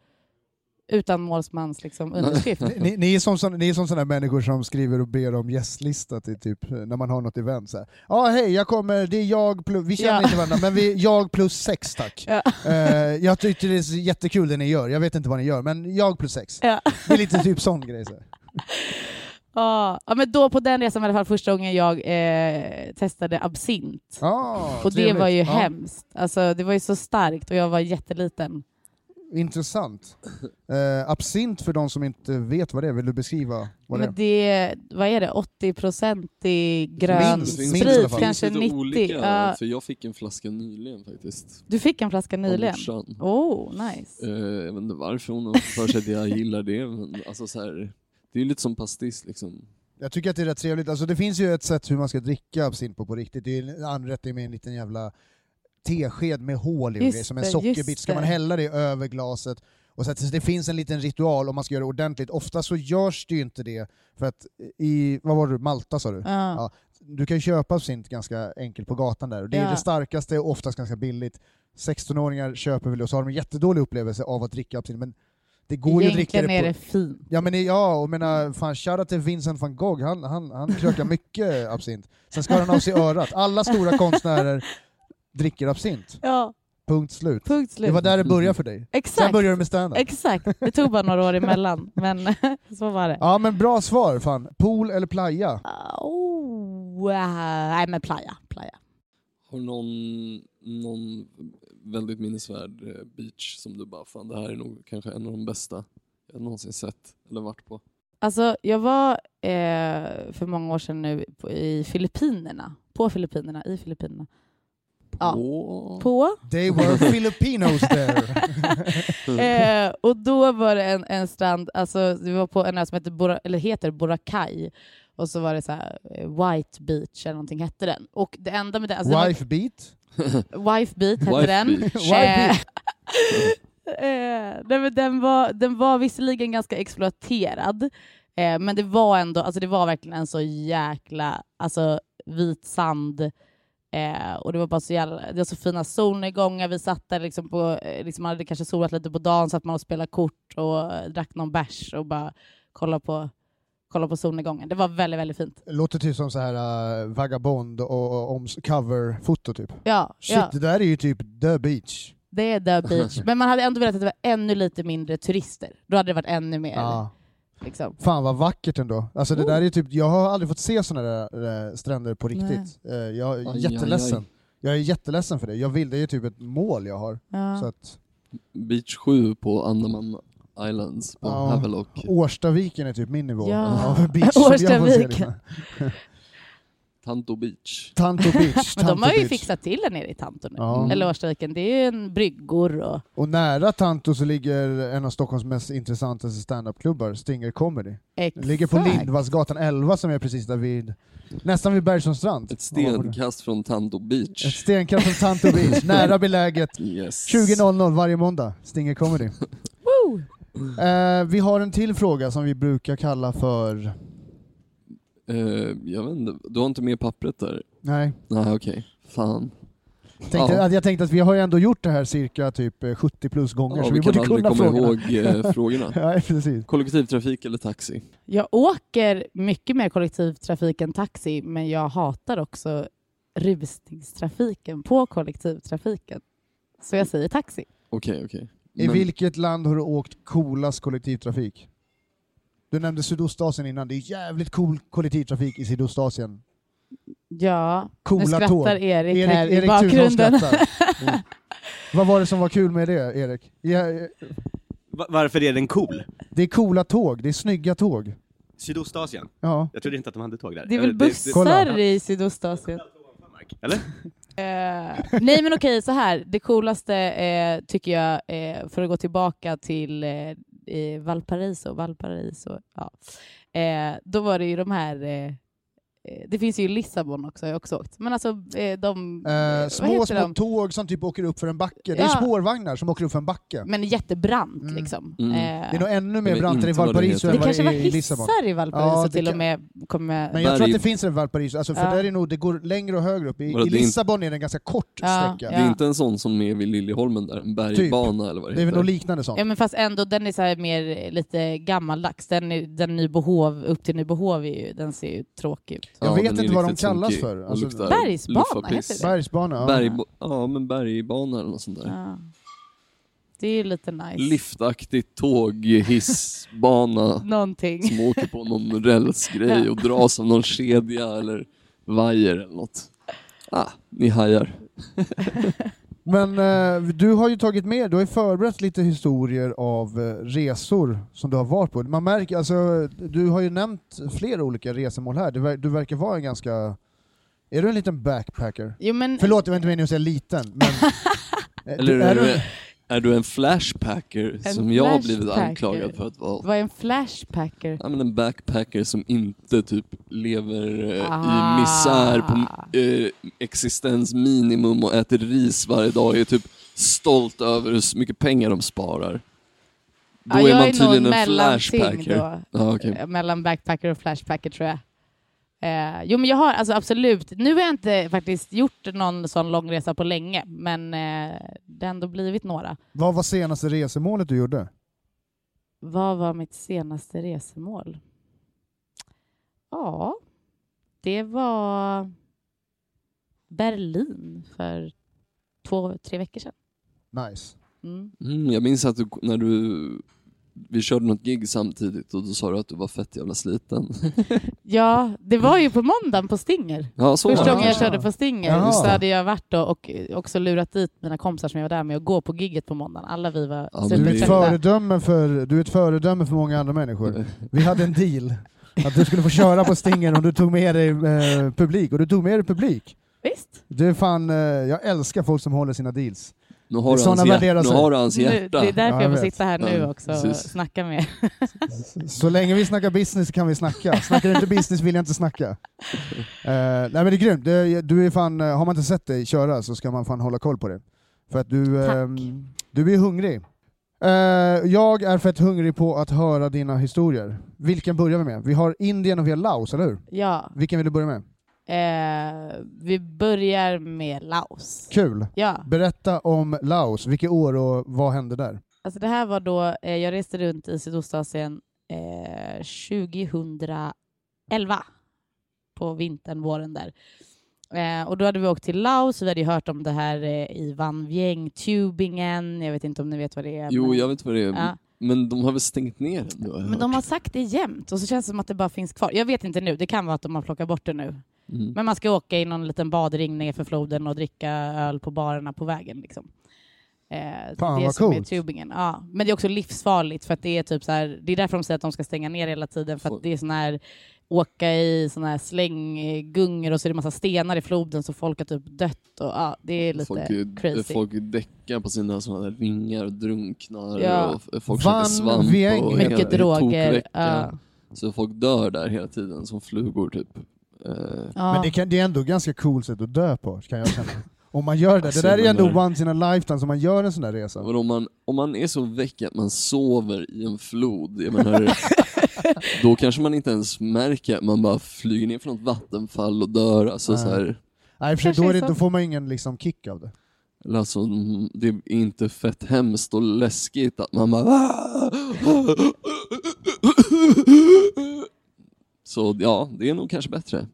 Speaker 3: utan målsmans liksom, underskrift.
Speaker 1: Ni- Ni, ni, är som, sån- ni är som sådana människor som skriver och ber om gästlista till typ, eh, när man har något event. Så här. Ja, hej, jag kommer, det är jag plus, vi känner
Speaker 3: Ja.
Speaker 1: inte varandra, men vi, jag plus sex tack.
Speaker 3: Ja.
Speaker 1: Eh, jag tycker det är så jättekul det ni gör, jag vet inte vad ni gör, men jag plus sex.
Speaker 3: Ja.
Speaker 1: Det är lite typ sån grej. Så här.
Speaker 3: Ja, ja, men då på den resan var det i alla fall första gången jag eh, testade absint.
Speaker 1: Ah,
Speaker 3: Och det
Speaker 1: trevligt.
Speaker 3: var ju
Speaker 1: Ja,
Speaker 3: hemskt. Alltså, det var ju så starkt och jag var jätteliten.
Speaker 1: Intressant. Eh, absint för de som inte vet vad det är, vill du beskriva vad det är?
Speaker 3: Men det, vad är det, 80% i grön
Speaker 1: Minst, minst i alla
Speaker 3: sprit,
Speaker 1: fall.
Speaker 3: kanske
Speaker 2: Lite
Speaker 3: 90.
Speaker 2: Olika, eh, typ.
Speaker 3: Ja.
Speaker 2: För jag fick en flaska nyligen faktiskt.
Speaker 3: du fick en flaska
Speaker 2: Av
Speaker 3: nyligen?
Speaker 2: morsan.
Speaker 3: Oh, nice.
Speaker 2: Eh, jag vet inte varför hon har för sig att jag gillar det, men alltså så här, det är ju lite som pastis liksom.
Speaker 1: Jag tycker att det är rätt trevligt. Alltså, det finns ju ett sätt hur man ska dricka absint på, på riktigt. Det är en anrättning med en liten jävla tesked med hål i och
Speaker 3: Just
Speaker 1: grejer, som en
Speaker 3: det,
Speaker 1: sockerbit.
Speaker 3: just
Speaker 1: Ska man
Speaker 3: det.
Speaker 1: hälla det över glaset och så att det finns en liten ritual om man ska göra det ordentligt. Ofta så görs det ju inte det för att i, vad var du, Malta sa du?
Speaker 3: Ja.
Speaker 1: Ja. Du kan ju köpa absint ganska enkelt på gatan där och det är
Speaker 3: Ja.
Speaker 1: det starkaste och oftast ganska billigt. 16-åringar köper väl det och så har de en jättedålig upplevelse av att dricka absint men det går ju att dricka
Speaker 3: Egentligen
Speaker 1: det
Speaker 3: är
Speaker 1: på...
Speaker 3: det Mm. fint.
Speaker 1: Ja men ja, och menar, fan shoutout till Vincent van Gogh, han, han, han krökar mycket absint. Sen skar han av sig örat. Alla stora konstnärer dricker absint.
Speaker 3: Ja,
Speaker 1: Punkt slut.
Speaker 3: punkt
Speaker 1: Det
Speaker 3: slut.
Speaker 1: var där det började för dig. Sen
Speaker 3: Exakt,
Speaker 1: började du med standup.
Speaker 3: exakt. Det tog bara några år emellan, men så var det. Ah,
Speaker 1: Ja men bra svar fan. Pool eller playa?
Speaker 3: Oh, wow. nej men playa, playa.
Speaker 2: Har du någon, någon väldigt minnesvärd eh, beach som du bara, fan det här är nog kanske en av de bästa jag någonsin sett eller varit på?
Speaker 3: Alltså, jag var eh, för många år sedan nu på, i Filippinerna. På Filippinerna, i Filippinerna. Ja.
Speaker 2: På...
Speaker 3: På.
Speaker 1: They were Filipinos
Speaker 3: Alltså,
Speaker 1: there.
Speaker 2: Mm.
Speaker 3: Eh, och då var det en, en strand, alltså vi var på en ö som heter, Bora, eller heter Boracay. Och så var det så här, eh, White Beach eller någonting hette den. Och det enda med det, alltså den
Speaker 1: Wife beat.
Speaker 3: var, Wife Beach hette
Speaker 2: Wife
Speaker 3: den.
Speaker 2: Beach.
Speaker 1: Wife beat.
Speaker 3: Eh, nej, men den, var, den var visserligen ganska exploaterad, eh, men det var ändå, alltså det var verkligen en så jäkla alltså, vit sand eh, och det var bara så jävla, det var så fina solnedgångar. Vi satt där liksom på, eh, liksom man hade kanske solat lite på dagen, satt man och spelade kort och eh, drack någon bärs och bara kollade på, kollade på solnedgången. Det var väldigt, väldigt fint.
Speaker 1: Låter typ som så här eh, Vagabond och, och oms- coverfoto typ.
Speaker 3: Ja,
Speaker 1: Shit,
Speaker 3: ja,
Speaker 1: det där är ju typ the beach.
Speaker 3: det är the beach. Men man hade ändå velat att det var ännu lite mindre turister. Då hade det varit ännu mer.
Speaker 1: Ja.
Speaker 3: Liksom.
Speaker 1: Fan vad vackert ändå. Alltså det
Speaker 3: Oh.
Speaker 1: där är typ, jag har aldrig fått se sådana där eh, stränder på riktigt. Eh, Jag är
Speaker 2: Aj, aj,
Speaker 1: jätteledsen.
Speaker 2: aj.
Speaker 1: Jag är jätteledsen för det. Jag vill, det är ju typ ett mål jag har.
Speaker 3: Ja.
Speaker 1: Så att,
Speaker 2: Beach 7 på Andaman Islands på
Speaker 1: Ja.
Speaker 2: Havelock.
Speaker 1: Årstaviken är typ min nivå
Speaker 3: Ja.
Speaker 1: av beach som jag får se.
Speaker 3: Årstaviken.
Speaker 1: Liksom.
Speaker 2: Tanto Beach.
Speaker 1: Tanto beach.
Speaker 3: Men de
Speaker 1: Tanto
Speaker 3: har ju
Speaker 1: beach.
Speaker 3: fixat till där nere i Tanto nu.
Speaker 1: Ja.
Speaker 3: Eller Årstaviken. Det är ju en bryggor och...
Speaker 1: Och nära Tanto så ligger en av Stockholms mest intressanta standupklubbar, Stinger Comedy. Den
Speaker 3: Exakt.
Speaker 1: ligger på Lindvallsgatan 11 som är precis där vid, nästan vid Bergslunds strand.
Speaker 2: Ett stenkast från Tanto Beach.
Speaker 1: Ett stenkast från Tanto beach, nära beläget.
Speaker 2: Yes.
Speaker 1: 20.00 varje måndag, Stinger Comedy.
Speaker 3: Woo!
Speaker 1: Eh, vi har en till fråga som vi brukar kalla för...
Speaker 2: Eh, jag vet inte, du har inte med pappret där?
Speaker 1: Nej,
Speaker 2: Nej okej, fan.
Speaker 1: tänkte,
Speaker 2: Ja.
Speaker 1: att jag tänkte att vi har ju ändå gjort det här cirka typ eh, 70 plus gånger,
Speaker 2: Ja,
Speaker 1: så
Speaker 2: vi
Speaker 1: vi
Speaker 2: kan
Speaker 1: borde
Speaker 2: aldrig
Speaker 1: kunna
Speaker 2: komma
Speaker 1: frågorna.
Speaker 2: ihåg eh, frågorna.
Speaker 1: Ja, precis.
Speaker 2: Kollektivtrafik eller taxi?
Speaker 3: Jag åker mycket mer kollektivtrafik än taxi, men jag hatar också rusningstrafiken på kollektivtrafiken. Så jag säger taxi.
Speaker 2: Okej, okej.
Speaker 1: I
Speaker 2: Men-
Speaker 1: vilket land har du åkt coolast kollektivtrafik? Du nämnde Sydostasien innan, det är jävligt cool kollektivtrafik i Sydostasien.
Speaker 3: Ja, nu
Speaker 1: Coola
Speaker 3: skrattar
Speaker 1: tåg.
Speaker 3: Erik,
Speaker 1: Erik,
Speaker 3: här i
Speaker 1: Erik Thunholm
Speaker 3: bakgrunden.
Speaker 1: skrattar. Mm. Vad var det som var kul med det, Erik? Ja, eh,
Speaker 4: Va- Varför är den cool?
Speaker 1: Det är coola tåg, det är snygga tåg.
Speaker 4: Sydostasien?
Speaker 1: Ja.
Speaker 4: Jag trodde inte att de hade tåg där.
Speaker 3: Det är
Speaker 4: Eller,
Speaker 3: väl
Speaker 1: Kolla.
Speaker 3: bussar i Sydostasien?
Speaker 4: Eller?
Speaker 3: Eh, nej men okej, så här. Det coolaste eh, tycker jag, eh, för att gå tillbaka till eh, eh, Valparaiso, Valparaiso ja. eh, då var det ju de här, eh, eh, det finns ju i Lissabon också, jag har också åkt, men alltså eh, de, eh,
Speaker 1: Eh,
Speaker 3: vad
Speaker 1: små,
Speaker 3: heter
Speaker 1: små
Speaker 3: de?
Speaker 1: tåg som typ åker upp för en backe. Det är
Speaker 3: Ja.
Speaker 1: spårvagnar som åker upp för en backe.
Speaker 3: Men jättebrant
Speaker 1: Mm.
Speaker 3: liksom.
Speaker 2: Mm.
Speaker 3: Eh,
Speaker 1: Det är nog ännu mer
Speaker 2: vet
Speaker 1: brant i
Speaker 2: inte vad det
Speaker 1: Valparaiso
Speaker 2: heter.
Speaker 1: än
Speaker 3: det
Speaker 1: vad det
Speaker 3: kanske var
Speaker 1: är i Lissabon.
Speaker 3: hissar i Valparaiso
Speaker 1: Ja, det
Speaker 3: till
Speaker 1: kan-
Speaker 3: och med. Kommer...
Speaker 1: Men jag tror att det
Speaker 2: Berg-
Speaker 1: finns en Valparaiso, alltså, för
Speaker 3: Ja.
Speaker 1: där är nog, det går längre och högre upp. I,
Speaker 2: Vadå,
Speaker 1: i
Speaker 2: det är inte-
Speaker 1: Lissabon är det en ganska kort
Speaker 3: Ja,
Speaker 1: sträcka.
Speaker 2: Det är inte en sån som är vid Liljeholmen där, en bergbana eller vad
Speaker 1: Typ.
Speaker 2: det
Speaker 1: Det är
Speaker 2: heter.
Speaker 1: väl något liknande sånt.
Speaker 3: Ja men fast ändå, den är så här mer eh, lite gammaldags. Den, är- den Nybohov, upp till Nybohov, är ju, den ser ju tråkig ut.
Speaker 1: Jag vet
Speaker 2: den är
Speaker 1: inte vad de
Speaker 2: riktigt
Speaker 1: kallas
Speaker 2: sunkig
Speaker 1: för.
Speaker 2: och
Speaker 1: Alltså-
Speaker 2: luktar
Speaker 3: Bergsbana
Speaker 2: luffarpiss.
Speaker 3: heter det.
Speaker 1: Bergsbana, ja.
Speaker 2: Bergbo- ja, men bergbana eller något sånt där.
Speaker 3: Ja. Det är ju lite nice.
Speaker 2: Liftaktigt tåg, hissbana
Speaker 3: Någonting.
Speaker 2: som åker på någon rälsgrej och dras av någon kedja eller vajer eller något. Ah, ni hajar.
Speaker 1: Men eh, du har ju tagit med, du har ju förberett lite historier av eh, resor som du har varit på. Man märker, alltså, du har ju nämnt flera olika resemål här. Du, ver- du verkar vara en ganska... Är du en liten backpacker?
Speaker 3: Jo, men,
Speaker 1: Förlåt, det var inte meningen att säga liten, men... Eh,
Speaker 2: Eller
Speaker 1: är
Speaker 2: är
Speaker 1: du-
Speaker 2: du, är du en flashpacker
Speaker 3: En
Speaker 2: som jag har blivit
Speaker 3: flashpacker.
Speaker 2: anklagad för att vara?
Speaker 3: Vad är en flashpacker?
Speaker 2: Ja, men en backpacker som inte typ lever eh,
Speaker 3: Ah.
Speaker 2: i misär på eh, existensminimum och äter ris varje dag är typ stolt över hur så mycket pengar de sparar. Då är
Speaker 3: jag
Speaker 2: man
Speaker 3: är
Speaker 2: tydligen
Speaker 3: någon
Speaker 2: en
Speaker 3: mellanting
Speaker 2: flashpacker.
Speaker 3: då.
Speaker 2: Ja, okej.
Speaker 3: Eh, Mellan backpacker och flashpacker tror jag. Eh, jo men jag har alltså absolut, nu har jag inte faktiskt gjort någon sån långresa på länge men eh, det har ändå blivit några.
Speaker 1: Vad var senaste resemålet du gjorde?
Speaker 3: Vad var mitt senaste resemål? Ja, det var Berlin för två, tre veckor sedan.
Speaker 1: Nice.
Speaker 3: Mm.
Speaker 2: Mm, jag minns att du, när du vi körde något gig samtidigt och då sa du att du var fett jävla sliten.
Speaker 3: Ja, det var ju på måndagen på Stinger.
Speaker 2: Ja, så var
Speaker 3: Första
Speaker 2: det.
Speaker 3: gången jag
Speaker 1: kanske.
Speaker 3: körde på Stinger
Speaker 1: Jaha.
Speaker 3: så hade jag varit då och också lurat dit mina kompisar som jag var där med att gå på gigget på måndagen. Alla vi var
Speaker 2: Ja, men
Speaker 1: Du är,
Speaker 2: det-
Speaker 1: ett
Speaker 3: supertrötta.
Speaker 1: föredöme för, du är ett föredöme för många andra människor. Vi hade en deal. Att du skulle få köra på Stinger om du tog med dig eh, publik. Och du tog med dig publik.
Speaker 3: Visst?
Speaker 1: Det är fan, eh, jag älskar folk som håller sina deals.
Speaker 2: Nu
Speaker 1: Det är
Speaker 2: har, du
Speaker 1: såna
Speaker 2: hans hjärta,
Speaker 1: värderas
Speaker 2: nu
Speaker 1: här.
Speaker 2: har du hans
Speaker 3: Nu,
Speaker 2: hjärta.
Speaker 3: det är därför
Speaker 1: Ja,
Speaker 3: jag
Speaker 1: jag
Speaker 3: får
Speaker 1: vet.
Speaker 3: sitta här nu
Speaker 2: Ja,
Speaker 3: också och
Speaker 2: precis.
Speaker 3: snacka med er.
Speaker 1: Så länge vi snackar business kan vi snacka. Snackar du inte business vill jag inte snacka. Eh, nej men det är grymt. Det, du är fan, eh, har man inte sett dig köra så ska man fan hålla koll på det. För att du, eh,
Speaker 3: Tack.
Speaker 1: du är hungrig. Eh, jag är fett hungrig på att höra dina historier. Vilken börjar vi med? Vi har Indien och vi har Laos, eller hur?
Speaker 3: Ja,
Speaker 1: Vilken vill du börja med?
Speaker 3: eh, vi börjar med Laos.
Speaker 1: Kul!
Speaker 3: Ja,
Speaker 1: Berätta om Laos, vilket år och vad hände där?
Speaker 3: alltså det här var då eh, jag reste runt i Sydostasien eh, 2011 på vintern, våren där. Eh, och då hade vi åkt till Laos, vi hade ju hört om det här eh, i Van Vieng, tubingen, jag vet inte om ni vet vad det är.
Speaker 2: Jo,
Speaker 3: men-
Speaker 2: jag vet inte vad det är.
Speaker 3: Ja.
Speaker 2: Men de har väl stängt ner den nu har jag
Speaker 3: Men de
Speaker 2: hört.
Speaker 3: har sagt det jämt och så känns det som att det bara finns kvar. Jag vet inte nu, det kan vara att de har plockat bort det nu.
Speaker 2: Mm.
Speaker 3: Men man ska åka i någon liten badring nerför floden och dricka öl på barerna på vägen. Liksom. Eh,
Speaker 1: Fan,
Speaker 3: det
Speaker 1: vad
Speaker 3: som är
Speaker 1: coolt.
Speaker 3: tubingen. Ja. Men det är också livsfarligt för att det är typ så här, det är därför de säger att de ska stänga ner hela tiden för
Speaker 2: Folk-
Speaker 3: att det är sån här åka i såna här slänggungor och så är det massa stenar i floden så folk har typ dött och ja, det är lite
Speaker 2: folk, är-
Speaker 3: crazy.
Speaker 2: folk däckar på sina såna där vingar och drunknar
Speaker 3: Ja.
Speaker 2: och f- folk
Speaker 1: Van
Speaker 2: käkar svamp
Speaker 1: Vieng.
Speaker 2: och
Speaker 1: Mycket
Speaker 2: hela- det är
Speaker 3: droger.
Speaker 2: tokvecka.
Speaker 3: Ja.
Speaker 2: Så folk dör där hela tiden som flugor typ. Eh,
Speaker 1: Men
Speaker 3: Ja.
Speaker 1: det, kan, det är ändå ganska coolt sätt att dö på, kan jag känna. Om man gör det. Det
Speaker 2: Alltså,
Speaker 1: där är
Speaker 2: men
Speaker 1: ändå
Speaker 2: där-
Speaker 1: once in a lifetime som man gör en sån där resa.
Speaker 2: men om, man, om man är så väck att man sover i en flod, jag menar, då kanske man inte ens märker att man bara flyger ner från ett vattenfall och dör. Alltså,
Speaker 1: Nej.
Speaker 2: så här,
Speaker 1: Nej, för
Speaker 3: Kanske
Speaker 1: då, är
Speaker 3: är
Speaker 1: det,
Speaker 3: så.
Speaker 1: då får man ingen liksom kick av det.
Speaker 2: eller alltså, mm, det är inte fett hemskt och läskigt att man bara... "Ah!" Så ja, det är nog kanske bättre.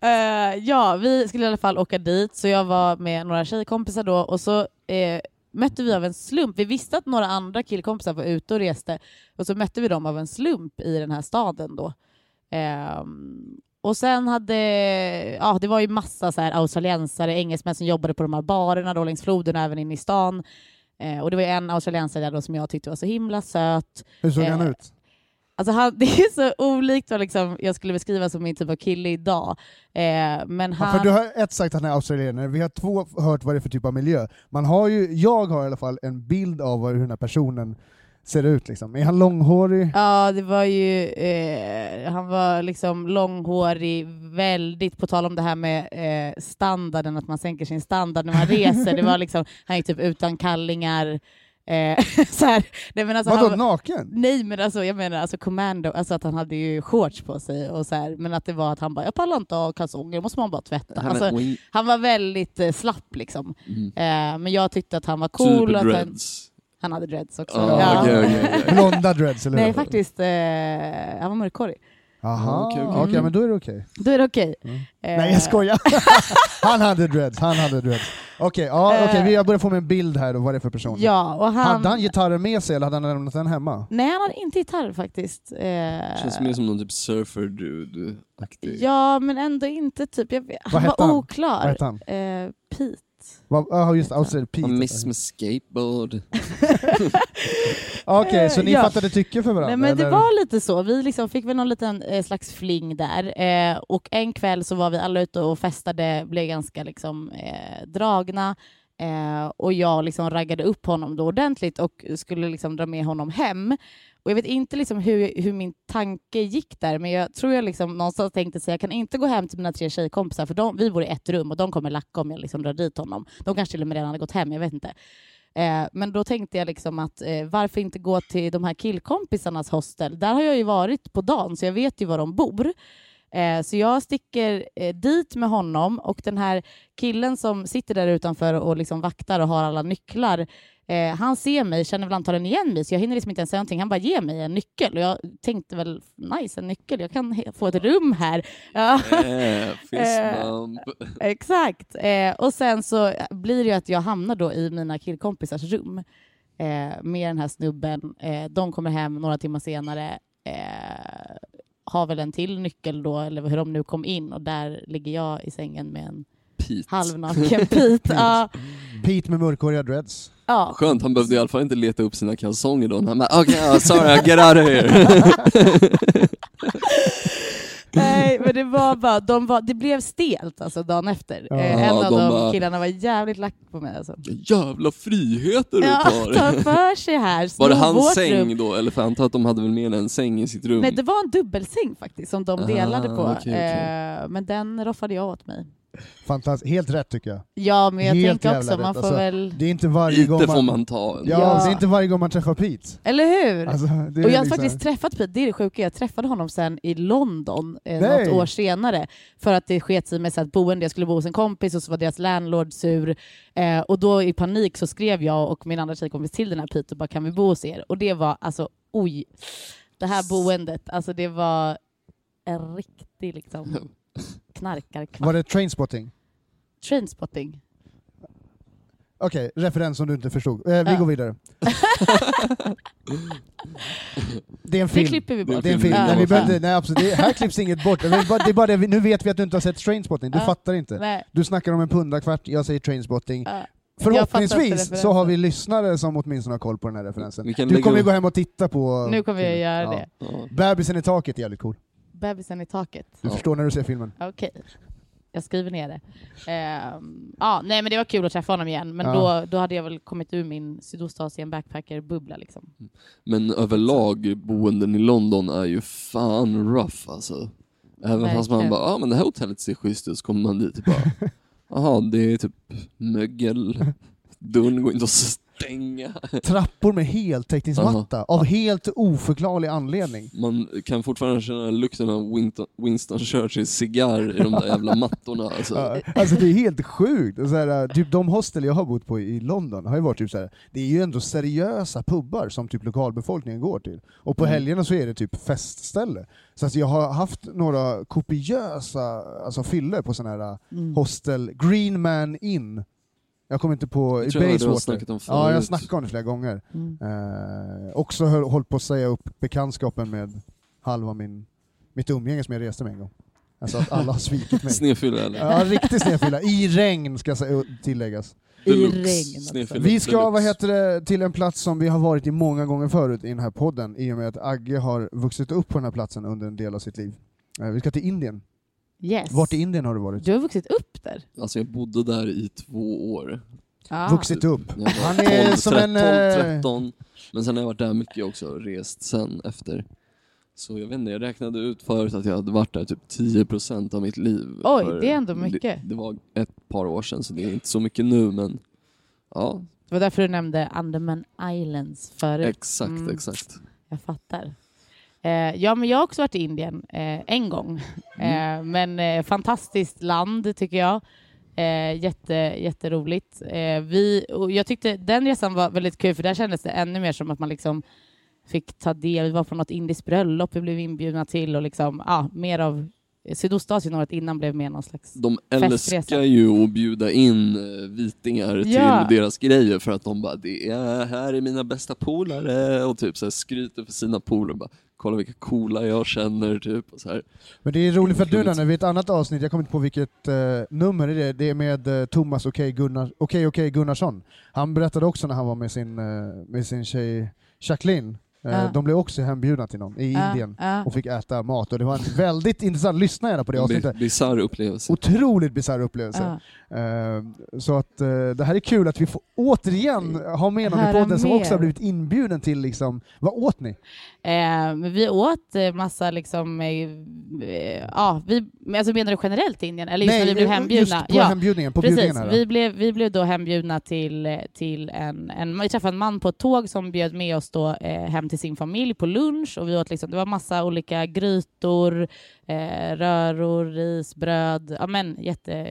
Speaker 3: Eh, ja, vi skulle i alla fall åka dit, så jag var med några tjejkompisar då och så eh, mötte vi av en slump, vi visste att några andra killkompisar var ute och reste och så mötte vi dem av en slump i den här staden då. Ehm, och sen hade, ja det var ju massa så här australiensare, engelsmän som jobbade på de här barerna då längs floden och även in i stan. Eh, och det var ju en australiensare där då som jag tyckte var så himla söt
Speaker 1: Hur såg
Speaker 3: Eh,
Speaker 1: han ut?
Speaker 3: Alltså han, det är så olikt vad liksom, jag skulle beskriva som min typ av kille idag. Eh, men
Speaker 1: Ja, för du
Speaker 3: han...
Speaker 1: har ett sagt att han är australienare, vi har två hört vad det är för typ av miljö. Man har ju, jag har i alla fall en bild av vad- hur den här personen ser ut. Liksom. Är han långhårig?
Speaker 3: Ja, det var ju... Eh, han var liksom långhårig, väldigt... På tal om det här med eh, standarden, att man sänker sin standard när man reser. det var liksom, han gick typ utan kallingar. Eh, så här. Nej, men alltså, han
Speaker 1: Vadå,
Speaker 3: var-
Speaker 1: naken?
Speaker 3: Nej men alltså jag menar alltså commando, alltså att han hade ju shorts på sig och så här, men att det var att han bara jag pallar inte ha kalsonger, måste man bara tvätta.
Speaker 2: Han är-
Speaker 3: Alltså,
Speaker 2: oj.
Speaker 3: Han var väldigt eh, slapp liksom.
Speaker 2: Mm.
Speaker 3: Eh, men jag tyckte att han var cool.
Speaker 2: Typ
Speaker 3: och att han,
Speaker 2: dreads.
Speaker 3: han hade dreads också.
Speaker 2: Ah,
Speaker 3: Ja.
Speaker 2: okej, okej, okej.
Speaker 1: Blonda dreads, eller
Speaker 3: Nej
Speaker 1: hur?
Speaker 3: faktiskt, eh, han var mörkhårig.
Speaker 1: Aha,
Speaker 2: Okej,
Speaker 1: okej,
Speaker 2: okej.
Speaker 1: men då är det okej.
Speaker 3: Då är det okej.
Speaker 1: Mm.
Speaker 3: Eh,
Speaker 1: Nej, jag skojar. han hade dreads, han hade dreads. Okej, ja,
Speaker 3: Eh.
Speaker 1: okej, vi jag börjar få med en bild här då, vad det är för person.
Speaker 3: Ja, och han...
Speaker 1: Hade han gitarren med sig eller hade han lämnat den hemma?
Speaker 3: Nej han hade inte gitarr faktiskt. Eh,
Speaker 2: Känns mer som någon typ surfer-dude-aktig.
Speaker 3: ja men ändå inte typ, jag, vet-
Speaker 1: Vad
Speaker 3: han
Speaker 1: hette
Speaker 3: var
Speaker 1: han? Vad
Speaker 3: oklar.
Speaker 1: hette han?
Speaker 3: Eh, Pete.
Speaker 1: Vad- Ja, just Australian Pete.
Speaker 2: Han miss med skateboard.
Speaker 1: Okej, så ni
Speaker 3: Ja.
Speaker 1: fattade tycke för varandra?
Speaker 3: Nej, men det
Speaker 1: eller?
Speaker 3: var lite så. Vi liksom fick väl någon liten eh, slags fling där. Eh, och en kväll så var vi alla ute och festade, blev ganska liksom, eh, dragna. Eh, och jag liksom raggade upp honom då ordentligt och skulle liksom dra med honom hem. Och jag vet inte liksom hur, hur min tanke gick där, men jag tror jag liksom någonstans tänkte att jag kan inte gå hem till mina tre tjejkompisar, för de, vi bor i ett rum och de kommer lacka om jag liksom drar dit honom. De kanske till och med redan hade gått hem, jag vet inte. Eh, men då tänkte jag liksom att eh, varför inte gå till de här killkompisarnas hostel? Där har jag ju varit på dagen, så jag vet ju var de bor. Eh, så jag sticker eh, dit med honom och den här killen som sitter där utanför och liksom vaktar och har alla nycklar, eh, han ser mig, känner väl antagligen igen mig, så jag hinner liksom inte ens säga någonting. Han bara ger mig en nyckel och jag tänkte väl nice, en nyckel, jag kan he- få ett rum här. Ja.
Speaker 2: Eh, Fistbump.
Speaker 3: Eh, Exakt. Eh, och sen så blir det ju att jag hamnar då i mina killkompisars rum. eh, med den här snubben. Eh, de kommer hem några timmar senare, eh, har väl en till nyckel då, eller hur de nu kom in, och där ligger jag i sängen med en
Speaker 2: Pete.
Speaker 3: halvnaken Pete. ja,
Speaker 1: Pete med mörkhåriga dreads.
Speaker 3: ja.
Speaker 2: Skönt, han behövde i alla fall inte leta upp sina kalsonger då. Han bara, okej, okay, sorry, get out of here.
Speaker 3: Nej, men det var bara, de var, det blev stelt alltså dagen efter.
Speaker 1: Ja.
Speaker 3: Eh, en
Speaker 2: Ja,
Speaker 3: av
Speaker 2: de
Speaker 3: de,
Speaker 2: bara-
Speaker 3: killarna var jävligt lack på mig alltså.
Speaker 2: Jävla friheter du
Speaker 3: Ja, ta
Speaker 2: tar.
Speaker 3: för sig här.
Speaker 2: Var det
Speaker 3: snor
Speaker 2: hans
Speaker 3: vårt
Speaker 2: säng
Speaker 3: rum.
Speaker 2: då? Eller för jag antar att de hade väl med en säng i sitt rum?
Speaker 1: Mm.
Speaker 3: Nej, det var en dubbelsäng faktiskt som de
Speaker 2: Ah,
Speaker 3: delade på.
Speaker 2: okej, okej.
Speaker 3: Eh, Men den roffade jag åt mig.
Speaker 1: Fantastiskt. Helt rätt tycker jag.
Speaker 3: Ja, men jag
Speaker 1: Helt
Speaker 3: tänker
Speaker 1: jävla
Speaker 3: också, man
Speaker 1: rätt,
Speaker 3: får
Speaker 1: alltså.
Speaker 3: väl...
Speaker 1: Det är inte varje gång
Speaker 2: Lite
Speaker 1: man...
Speaker 2: får man ta en.
Speaker 1: Ja,
Speaker 3: Ja.
Speaker 1: det är inte varje gång man träffar Pete.
Speaker 3: Eller hur?
Speaker 1: Alltså, det är
Speaker 3: och jag har
Speaker 1: liksom-
Speaker 3: faktiskt träffat Pete, det är det sjuka, jag träffade honom sen i London eh,
Speaker 1: Nej.
Speaker 3: något år senare för att det sket sig med så att boende, jag skulle bo hos en kompis och så var deras landlord sur eh, och då i panik så skrev jag och min andra tjejkompis till den här Pete och bara kan vi bo hos er? Och det var alltså oj, det här boendet, alltså det var en riktig liksom knarkarkvart.
Speaker 1: Var det trainspotting?
Speaker 3: Trainspotting.
Speaker 1: Okej, referens som du inte förstod. Eh, vi
Speaker 3: Ja.
Speaker 1: går vidare. det är en
Speaker 3: Det
Speaker 1: film.
Speaker 3: klipper vi
Speaker 2: Det är
Speaker 3: bort.
Speaker 1: Det är en film.
Speaker 3: Ja.
Speaker 1: Nej, vi behöver, inte- nej, absolut. Det, här klipps inget bort. Det är bara, det är bara det, vi- nu vet vi att du inte har sett Trainspotting, du
Speaker 3: Ja.
Speaker 1: fattar inte.
Speaker 3: Nej,
Speaker 1: Du snackar om en pundarkvart, jag säger Trainspotting.
Speaker 3: ja. Jag fattar inte
Speaker 1: Förhoppningsvis så har vi
Speaker 3: referensen.
Speaker 1: lyssnare som åtminstone har koll på den här referensen.
Speaker 2: Vi kan
Speaker 1: alltså. Du
Speaker 2: lägga
Speaker 1: kommer ju
Speaker 2: upp-
Speaker 1: gå hem och titta på...
Speaker 3: Nu kommer jag
Speaker 1: filmen.
Speaker 3: göra
Speaker 1: Ja.
Speaker 3: det.
Speaker 2: Ja.
Speaker 1: Bebisen i taket är jävligt cool.
Speaker 3: Bebisen i taket.
Speaker 1: Du
Speaker 2: Ja.
Speaker 1: förstår när du ser filmen.
Speaker 3: Okej. Jag skriver ner det. Ehm, ja, nej, men det var kul att träffa honom igen, men
Speaker 1: Ja.
Speaker 3: då, då hade jag väl kommit ur min Sydostasien backpacker-bubbla. Liksom.
Speaker 2: Men överlag, boenden i London är ju fan rough alltså. Även fast man
Speaker 3: Verkligen.
Speaker 2: bara, ja ah, men det här hotellet ser schysst ut, så kommer man dit och bara, jaha det är typ mögel, dörren går inte att stänga.
Speaker 1: Trappor med heltäckningsmatta, av helt oförklarlig anledning.
Speaker 2: Man kan fortfarande känna lukten av Winston, Winston Churchills cigarr i de där jävla mattorna alltså.
Speaker 1: Ja, alltså det är helt sjukt. Och Så här, typ de hostel jag har bott på i London har ju varit typ så här, det är ju ändå seriösa pubbar som typ lokalbefolkningen går till. Och på
Speaker 2: Mm.
Speaker 1: helgerna så är det typ festställe. Så att jag har haft några kopiösa alltså, fyller på sådana här
Speaker 2: Mm.
Speaker 1: hostel, Green Man Inn. Jag kommer inte på, i
Speaker 2: Jag tror jag du har
Speaker 1: Bayswater.
Speaker 2: snackat om
Speaker 1: Ja, jag har
Speaker 2: förut.
Speaker 1: snackat om det flera gånger.
Speaker 3: Mm.
Speaker 1: Eh, också höll, hållit på att säga upp bekantskapen med halva min, mitt umgänge som jag reste med en gång. Alltså att alla har svikit mig.
Speaker 2: Snedfylla eller?
Speaker 1: Ja, riktig snedfylla. I regn ska sä- tilläggas.
Speaker 3: I
Speaker 2: Deluxe.
Speaker 3: regn.
Speaker 2: Snedfylla
Speaker 3: Också.
Speaker 1: Vi ska,
Speaker 2: deluxe.
Speaker 1: vad heter det, till en plats som vi har varit i många gånger förut i den här podden, i och med att Agge har vuxit upp på den här platsen under en del av sitt liv. Eh, Vi ska till Indien.
Speaker 3: Yes.
Speaker 1: Vart i Indien har du varit?
Speaker 3: Du har vuxit upp där.
Speaker 2: Alltså jag bodde där i två år.
Speaker 3: Ja.
Speaker 1: Vuxit upp.
Speaker 2: När jag var
Speaker 1: Han är
Speaker 2: 12,
Speaker 1: som en,
Speaker 2: 13,
Speaker 1: eh,
Speaker 2: 13. Men sen har jag varit där mycket också och rest sen efter. Så jag vet inte, jag räknade ut förut att jag hade varit där typ 10% av mitt liv.
Speaker 3: Oj,
Speaker 2: För
Speaker 3: det är ändå mycket.
Speaker 2: Det, det var ett par år sedan så det är inte så mycket nu men ja,
Speaker 3: Det var därför du nämnde Andaman Islands förut.
Speaker 2: exakt,
Speaker 3: Mm.
Speaker 2: exakt.
Speaker 3: Jag fattar. Eh, ja, men jag har också varit i Indien eh, en gång.
Speaker 1: Mm.
Speaker 3: Eh, men eh, fantastiskt land tycker jag. Eh, jätte, jätteroligt. Eh, vi, och jag tyckte den resan var väldigt kul för där kändes det ännu mer som att man liksom fick ta del. Vi var på något indiskt bröllop vi blev inbjudna till och liksom, ja, mer av Sydostasien året innan blev mer någon slags...
Speaker 2: De
Speaker 3: Festresa.
Speaker 2: älskar ju att bjuda in eh, vitingar
Speaker 3: Ja.
Speaker 2: till deras grejer för att de bara det är, här är mina bästa polare och typ så här skryter för sina polare bara kolla vilka coola jag känner typ och så här.
Speaker 1: Men det är roligt för att du
Speaker 2: Otroligt.
Speaker 1: nämner vid ett annat avsnitt, jag kommer inte på vilket eh, nummer det är, det är med eh, Thomas Okej Gunnar, Okej Okej Gunnarsson. Han berättade också när han var med sin, eh, med sin tjej Jacqueline, eh,
Speaker 3: Ja.
Speaker 1: de blev också hembjudna till någon i Indien
Speaker 3: Ja,
Speaker 1: och fick äta mat och det var en väldigt intressant, lyssna gärna på det
Speaker 2: Bi-
Speaker 1: avsnittet.
Speaker 2: Bisarr upplevelse.
Speaker 1: Otroligt bisarr
Speaker 3: ja,
Speaker 1: upplevelse.
Speaker 3: ja.
Speaker 1: Eh, så att eh, det här är kul att vi får återigen ha med någon i
Speaker 3: Höra
Speaker 1: podden som
Speaker 3: mer.
Speaker 1: också har blivit inbjuden till liksom, vad åt ni?
Speaker 3: Eh, men vi åt eh, massa liksom... eh, Eh, ja, vi, men alltså menar du generellt i Indien? Eller just när vi blev
Speaker 1: eh,
Speaker 3: hembjudna?
Speaker 1: Just på
Speaker 3: ja.
Speaker 1: hembjudningen, på
Speaker 3: Precis,
Speaker 1: bjudningen här.
Speaker 3: vi blev, vi blev då hembjudna till, eh, till en, en, vi träffade en man på ett tåg som bjöd med oss då, eh, hem till sin familj på lunch och vi åt liksom, det var massa olika grytor, eh, röror, ris, bröd. Ja men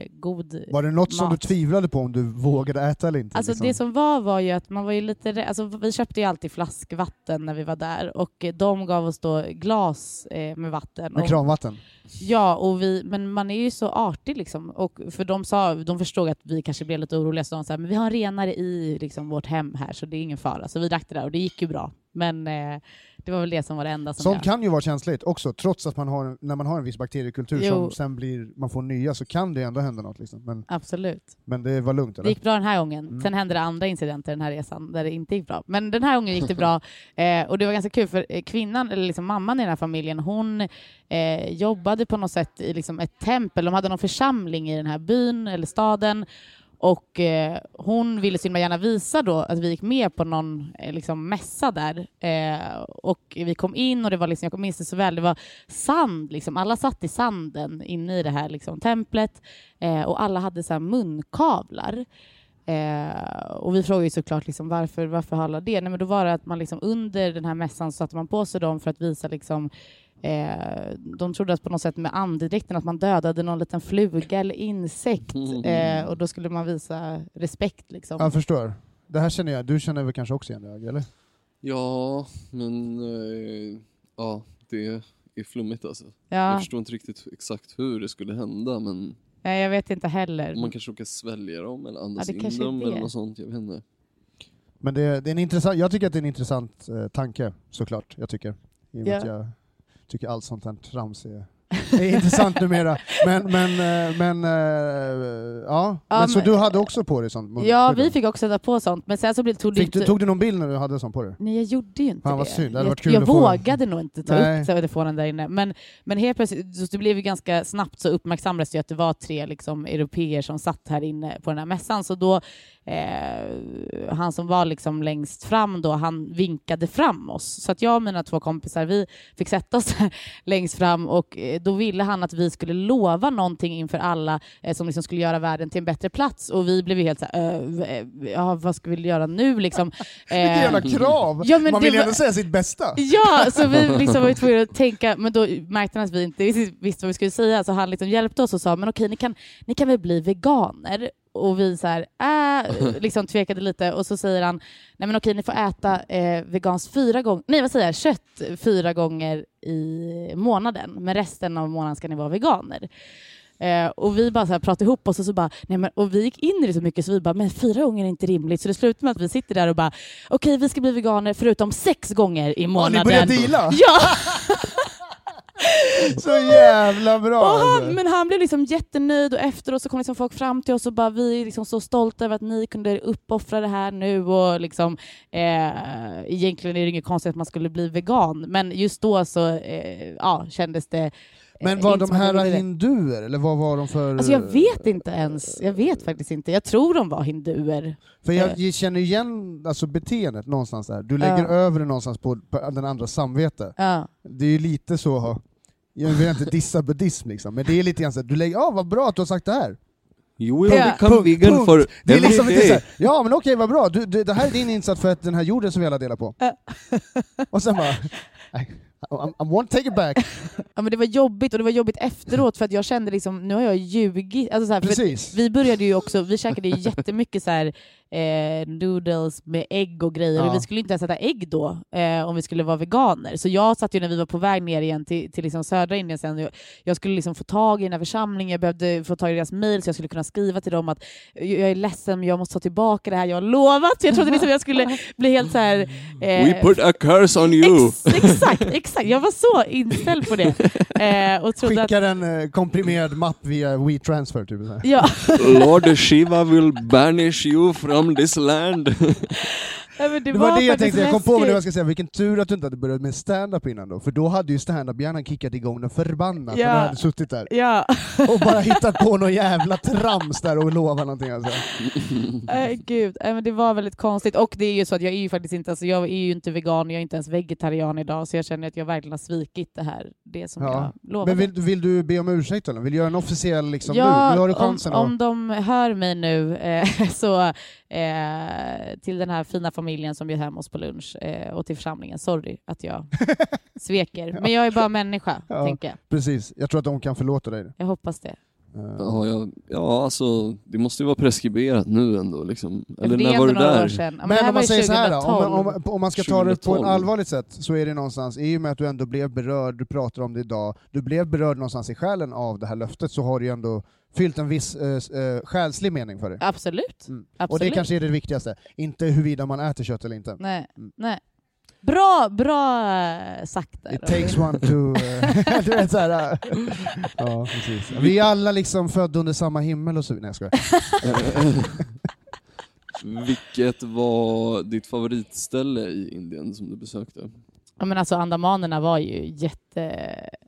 Speaker 3: jättegod
Speaker 1: Var det något som du
Speaker 3: Mat.
Speaker 1: tvivlade på om du vågade äta eller inte?
Speaker 3: Alltså
Speaker 1: liksom?
Speaker 3: det som var var ju att man var ju lite rä- alltså vi köpte ju alltid flaskvatten när vi var där och eh, de gav oss då glas eh, med vatten.
Speaker 1: Med
Speaker 3: Och-
Speaker 1: kranvatten?
Speaker 3: Ja, och vi, men man är ju så artig liksom. Och för de, sa, de förstod att vi kanske blev lite oroliga, så de sa men vi har en renare i liksom, vårt hem här, så det är ingen fara. Så vi drack det där och det gick ju bra. Men eh, det var väl det som var det enda som,
Speaker 1: Sånt
Speaker 3: jag...
Speaker 1: kan ju vara känsligt också, trots att man har, när man har en viss bakteriekultur
Speaker 3: Jo.
Speaker 1: som sen blir, man får nya så kan det ändå hända något. Liksom. Men,
Speaker 3: Absolut.
Speaker 1: men det var lugnt
Speaker 3: Det
Speaker 1: eller?
Speaker 3: gick bra den här gången.
Speaker 1: Mm.
Speaker 3: Sen hände det andra incidenter den här resan där det inte gick bra. Men den här gången gick det bra. Eh, och det var ganska kul för eh, kvinnan, eller liksom mamman i den här familjen, hon eh, jobbade på något sätt i liksom ett tempel. De hade någon församling i den här byn eller staden. Och eh, hon ville så himla gärna visa då att vi gick med på någon eh, liksom, mässa där. Eh, och vi kom in och det var liksom, jag minns det så väl, det var sand liksom. Alla satt i sanden inne i det här liksom, templet eh, och alla hade så här munkavlar. Eh, och vi frågade ju såklart liksom, varför, varför har alla det? Nej, men då var det att man liksom, under den här mässan så satte man på sig dem för att visa liksom, Eh, de trodde att på något sätt med andedräkten att man dödade någon liten fluga eller insekt
Speaker 2: Mm.
Speaker 3: eh, och då skulle man visa respekt. Liksom.
Speaker 1: Jag förstår. Det här känner jag, du känner väl kanske också igen det Agge, eller?
Speaker 2: Ja, men eh, ja, det är flummigt alltså. Jag
Speaker 3: Ja,
Speaker 2: förstår inte riktigt exakt hur det skulle hända men
Speaker 3: nej, jag vet inte heller.
Speaker 2: man kanske råkar svälja dem eller andas
Speaker 3: det
Speaker 2: in
Speaker 3: kanske är
Speaker 2: dem eller
Speaker 3: det.
Speaker 2: något sånt, jag vet inte.
Speaker 1: Men det, det är en intressant, jag tycker att det är en intressant eh, tanke, såklart. Jag tycker. I och med
Speaker 3: Ja.
Speaker 1: att jag tycker allt sånt här trams är, är intressant numera. Men, men, eh, men, eh, ja.
Speaker 3: Ja,
Speaker 1: men så
Speaker 3: men-
Speaker 1: du hade också på dig sånt?
Speaker 3: Ja, vi fick också sätta på sånt, men sen så blev, tog det
Speaker 1: Fick
Speaker 3: inte...
Speaker 1: du, tog du någon bild när du hade sånt på dig?
Speaker 3: Nej, jag gjorde ju inte
Speaker 1: Fan,
Speaker 3: det.
Speaker 1: vad synd. Det hade
Speaker 3: jag
Speaker 1: varit kul
Speaker 3: jag
Speaker 1: att få-
Speaker 3: vågade nog inte ta
Speaker 1: Nej.
Speaker 3: upp telefonen där inne. Men, men helt plötsligt, så det blev ju ganska snabbt så uppmärksammades det ju att det var tre liksom, europeer som satt här inne på den här mässan. Så då, eh, han som var liksom längst fram då, han vinkade fram oss. Så att jag och mina två kompisar, vi fick sätta oss längst fram och eh, då ville han att vi skulle lova någonting inför alla eh, som liksom skulle göra världen till en bättre plats och vi blev ju helt så här, eh, v- eh, ja, vad ska vi göra nu liksom?
Speaker 1: Vilket
Speaker 3: Eh,
Speaker 1: jävla krav!
Speaker 3: Ja, men
Speaker 1: Man
Speaker 3: det
Speaker 1: vill ju
Speaker 3: var-
Speaker 1: ändå säga sitt bästa.
Speaker 3: Ja, så vi liksom var ju tvungna att tänka, men då märkte han att vi inte riktigt visste vad vi skulle säga, så han liksom hjälpte oss och sa, men okej, ni kan, ni kan väl bli veganer? Och vi så här, äh, liksom tvekade lite och så säger han, nej men okej, ni får äta eh, veganskt fyra gånger, nej vad säger jag, kött fyra gånger i månaden, men resten av månaden ska ni vara veganer. Eh, och vi bara så här pratade ihop oss och så bara, nej men, och vi gick in i det så mycket så vi bara, men fyra gånger är inte rimligt. Så det slutade med att vi sitter där och bara, okej vi ska bli veganer förutom sex gånger i
Speaker 1: Ja,
Speaker 3: månaden.
Speaker 1: ni började deala!
Speaker 3: Ja,
Speaker 1: Så jävla bra!
Speaker 3: och han,
Speaker 1: alltså.
Speaker 3: men han blev liksom jättenöjd och efteråt så kom liksom folk fram till oss och bara vi är liksom så stolta över att ni kunde uppoffra det här nu och liksom eh, egentligen är det inget konstigt att man skulle bli vegan men just då så eh, ja, kändes det eh,
Speaker 1: Men var
Speaker 3: inte
Speaker 1: de
Speaker 3: som att vi
Speaker 1: här
Speaker 3: ville det.
Speaker 1: hinduer, eller vad var de för...
Speaker 3: Alltså jag vet inte ens. Jag vet faktiskt inte. Jag tror de var hinduer.
Speaker 1: För jag känner igen alltså, beteendet någonstans där. Du lägger
Speaker 3: Eh. Ja.
Speaker 1: över det någonstans på, på den andra samvete.
Speaker 3: Ja.
Speaker 1: Det är ju lite så, jag vill inte dissa buddhism liksom, men det är lite grann så här, du lägger, ja vad bra att du har sagt det här.
Speaker 5: You will
Speaker 3: Yeah.
Speaker 5: become
Speaker 1: Punkt,
Speaker 5: vegan
Speaker 1: punkt.
Speaker 5: for
Speaker 1: Det är
Speaker 5: every
Speaker 1: liksom inte
Speaker 5: day.
Speaker 1: så här, ja men okej vad bra, du, du, det här är din insats för att den här jorden som vi alla delar på. Och sen bara, I, I, I want to take it back.
Speaker 3: ja men det var jobbigt och det var jobbigt efteråt för att jag kände liksom, nu har jag ljugit. Alltså så här, för
Speaker 1: Precis.
Speaker 3: vi började ju också, vi käkade ju jättemycket så här, eh, noodles med ägg och grejer.
Speaker 1: Ja.
Speaker 3: Och vi skulle inte ens äta ägg då eh, om vi skulle vara veganer. Så jag satt ju när vi var på väg ner igen till, till liksom södra Indien sen. Jag, jag skulle liksom få tag i den här församlingen, jag behövde få tag i deras mail så jag skulle kunna skriva till dem att jag jag är ledsen men jag måste ta tillbaka det här jag har lovat. Så jag trodde liksom jag skulle bli helt så här. eh,
Speaker 5: We put a curse on you.
Speaker 3: Ex, exakt, exakt. Jag var så inställd på det. Eh, och trodde att,
Speaker 1: Skickar en eh, komprimerad mapp via WeTransfer typ. Så här.
Speaker 3: ja,
Speaker 5: Lord Shiva will banish you from this land.
Speaker 3: Nej, men det,
Speaker 1: Det var det jag
Speaker 3: faktiskt
Speaker 1: tänkte, jag kom på med det
Speaker 3: läskigt.
Speaker 1: jag ska säga, vilken tur att du inte hade börjat med stand-up innan då, för då hade ju stand-up-hjärnan kickat igång något förbannat
Speaker 3: Ja.
Speaker 1: när du hade suttit där
Speaker 3: Ja,
Speaker 1: och bara hittat på någon jävla trams där och lovat någonting alltså.
Speaker 3: äh, gud. Nej, men det var väldigt konstigt. Och det är ju så att jag är ju faktiskt inte, alltså, jag är ju inte vegan, jag är inte ens vegetarian idag, så jag känner att jag verkligen har svikit det här, det som
Speaker 1: Ja.
Speaker 3: jag lovade.
Speaker 1: Men vill, vill du be om ursäkt eller? Vill du göra en officiell liksom
Speaker 3: ja,
Speaker 1: nu? Nu har du
Speaker 3: om,
Speaker 1: chansen att-
Speaker 3: om de hör mig nu eh, så eh, till den här fina familjen som bjöd hem oss på lunch eh, och till församlingen. Sorry att jag sveker. Men jag är bara människa,
Speaker 1: Ja.
Speaker 3: tänker jag.
Speaker 1: Precis, jag tror att de kan förlåta dig.
Speaker 3: Jag hoppas det.
Speaker 1: Eh,
Speaker 2: Ja, jag, ja, alltså det måste ju vara preskriberat nu ändå liksom. Eller
Speaker 3: det är
Speaker 2: när var du
Speaker 3: ändå några år
Speaker 2: där?
Speaker 3: sedan. Ja, men, det
Speaker 1: Men
Speaker 3: här
Speaker 1: om
Speaker 3: var
Speaker 1: man
Speaker 3: ju
Speaker 1: säger så här då, om,
Speaker 3: 2012.
Speaker 1: man- om, man- om man ska ta det på ett
Speaker 2: 2012.
Speaker 1: allvarligt sätt så är det någonstans, i och med att du ändå blev berörd, du pratar om det idag, du blev berörd någonstans i själen av det här löftet så har du ju ändå fyllt en viss eh, s- eh, själslig mening för dig.
Speaker 3: Absolut.
Speaker 1: Mm. Och
Speaker 3: Absolut.
Speaker 1: det kanske är det viktigaste, inte huruvida man äter kött eller inte.
Speaker 3: Nej.
Speaker 1: Mm.
Speaker 3: Nej. Bra, bra eh, sagt där.
Speaker 1: It takes one to... eh, du vet så här, eh. ja, precis. Vi är alla liksom födda under samma himmel och så. Nej jag skojar.
Speaker 2: Vilket var ditt favoritställe i Indien som du besökte?
Speaker 3: Ja, men alltså andamanerna var ju jättehärligt.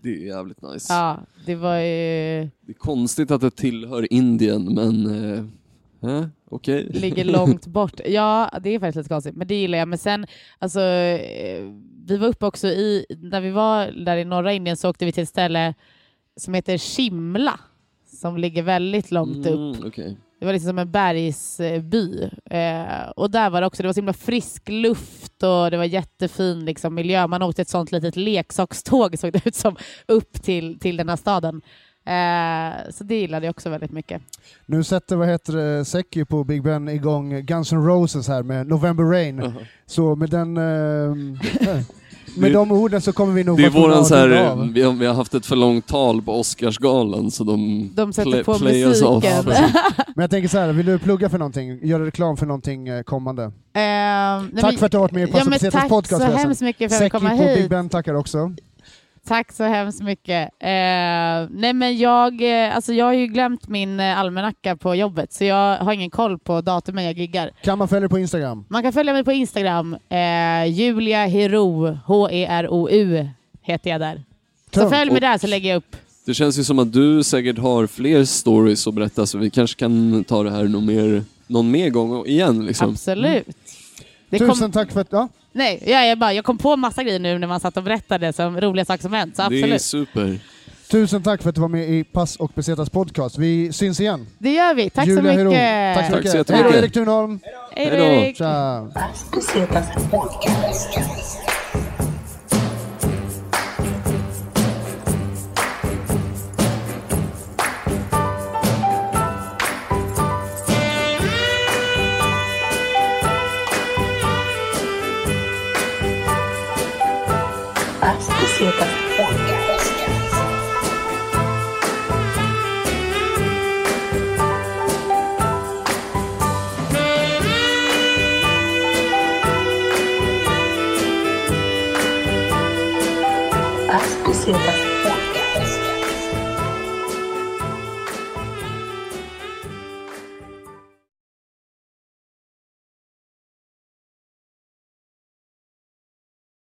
Speaker 2: Det är jävligt nice.
Speaker 3: Ja, det var ju...
Speaker 2: Det är konstigt att det tillhör Indien men... Eh, eh, Okej.
Speaker 3: Ligger långt bort. Ja, det är faktiskt lite konstigt, men det gillar jag. Men sen, alltså, eh, vi var uppe också i... När vi var där i norra Indien så åkte vi till ett ställe som heter Shimla, som ligger väldigt långt upp.
Speaker 2: Mm, okej.
Speaker 3: Det var liksom som en bergsby. Eh, och där var det också, det var så himla frisk luft och det var jättefin liksom, miljö. Man åkte ett sånt litet leksakståg såg det ut som, upp till, till den här staden. Eh, så det gillade jag också väldigt mycket.
Speaker 1: Nu sätter vad heter det, Secchi på Big Ben igång Guns N' Roses här med November Rain.
Speaker 2: Aha.
Speaker 1: Så med den... ehm, med de orden så kommer vi nog
Speaker 2: Det är
Speaker 1: vara tvungna
Speaker 2: våran
Speaker 1: att
Speaker 2: så
Speaker 1: runda
Speaker 2: här, mm.
Speaker 1: av.
Speaker 2: vi har, vi har haft ett för långt tal på Oscarsgalan så de...
Speaker 3: De sätter
Speaker 2: Play-
Speaker 3: på
Speaker 2: play us off.
Speaker 3: musiken. Eh,
Speaker 1: Ja, precis. Men jag tänker så här, vill du plugga för någonting? Göra reklam för någonting eh, kommande?
Speaker 3: Eh, nej,
Speaker 1: tack
Speaker 3: men-
Speaker 1: för att du har varit med i
Speaker 3: ja, men
Speaker 1: Passivitetens
Speaker 3: Tack
Speaker 1: podcast.
Speaker 3: så
Speaker 1: Jason.
Speaker 3: hemskt mycket för att jag
Speaker 1: Säkert
Speaker 3: fick komma
Speaker 1: på Big
Speaker 3: hit.
Speaker 1: Ben tackar också.
Speaker 3: Tack så hemskt mycket. Eh, nej men jag, eh, alltså jag har ju glömt min eh, almanacka på jobbet så jag har ingen koll på datumen jag giggar.
Speaker 1: Kan man följa dig på Instagram?
Speaker 3: Man kan följa mig på Instagram. Eh, Julia Hero, E H-E-R-O-U heter jag där. Så
Speaker 1: Tungt.
Speaker 3: följ mig där så lägger jag upp.
Speaker 2: Det känns ju som att du säkert har fler stories att berätta så vi kanske kan ta det här någon mer, någon mer gång och igen liksom.
Speaker 3: Absolut. Det kom,
Speaker 1: Tusen tack för att... Ja,
Speaker 3: nej, jag, jag, bara, jag kom på massa grejer nu när man satt och berättade som roliga saker som hänt. Så
Speaker 2: Det är
Speaker 3: absolut.
Speaker 2: super.
Speaker 1: tusen tack för att du var med i Pass och Pesetas podcast. Vi syns igen.
Speaker 3: Det gör vi. Tack
Speaker 1: Julia
Speaker 3: så mycket.
Speaker 1: Herong. Tack så
Speaker 2: Tack
Speaker 1: mycket.
Speaker 2: så
Speaker 1: Hej då
Speaker 2: jättemycket.
Speaker 1: Erik Thunholm.
Speaker 3: Hej
Speaker 2: Hej då.
Speaker 3: Erik.
Speaker 1: Tja.
Speaker 6: Pesetas Podcast. As Pesetas Podcast. As Pesetas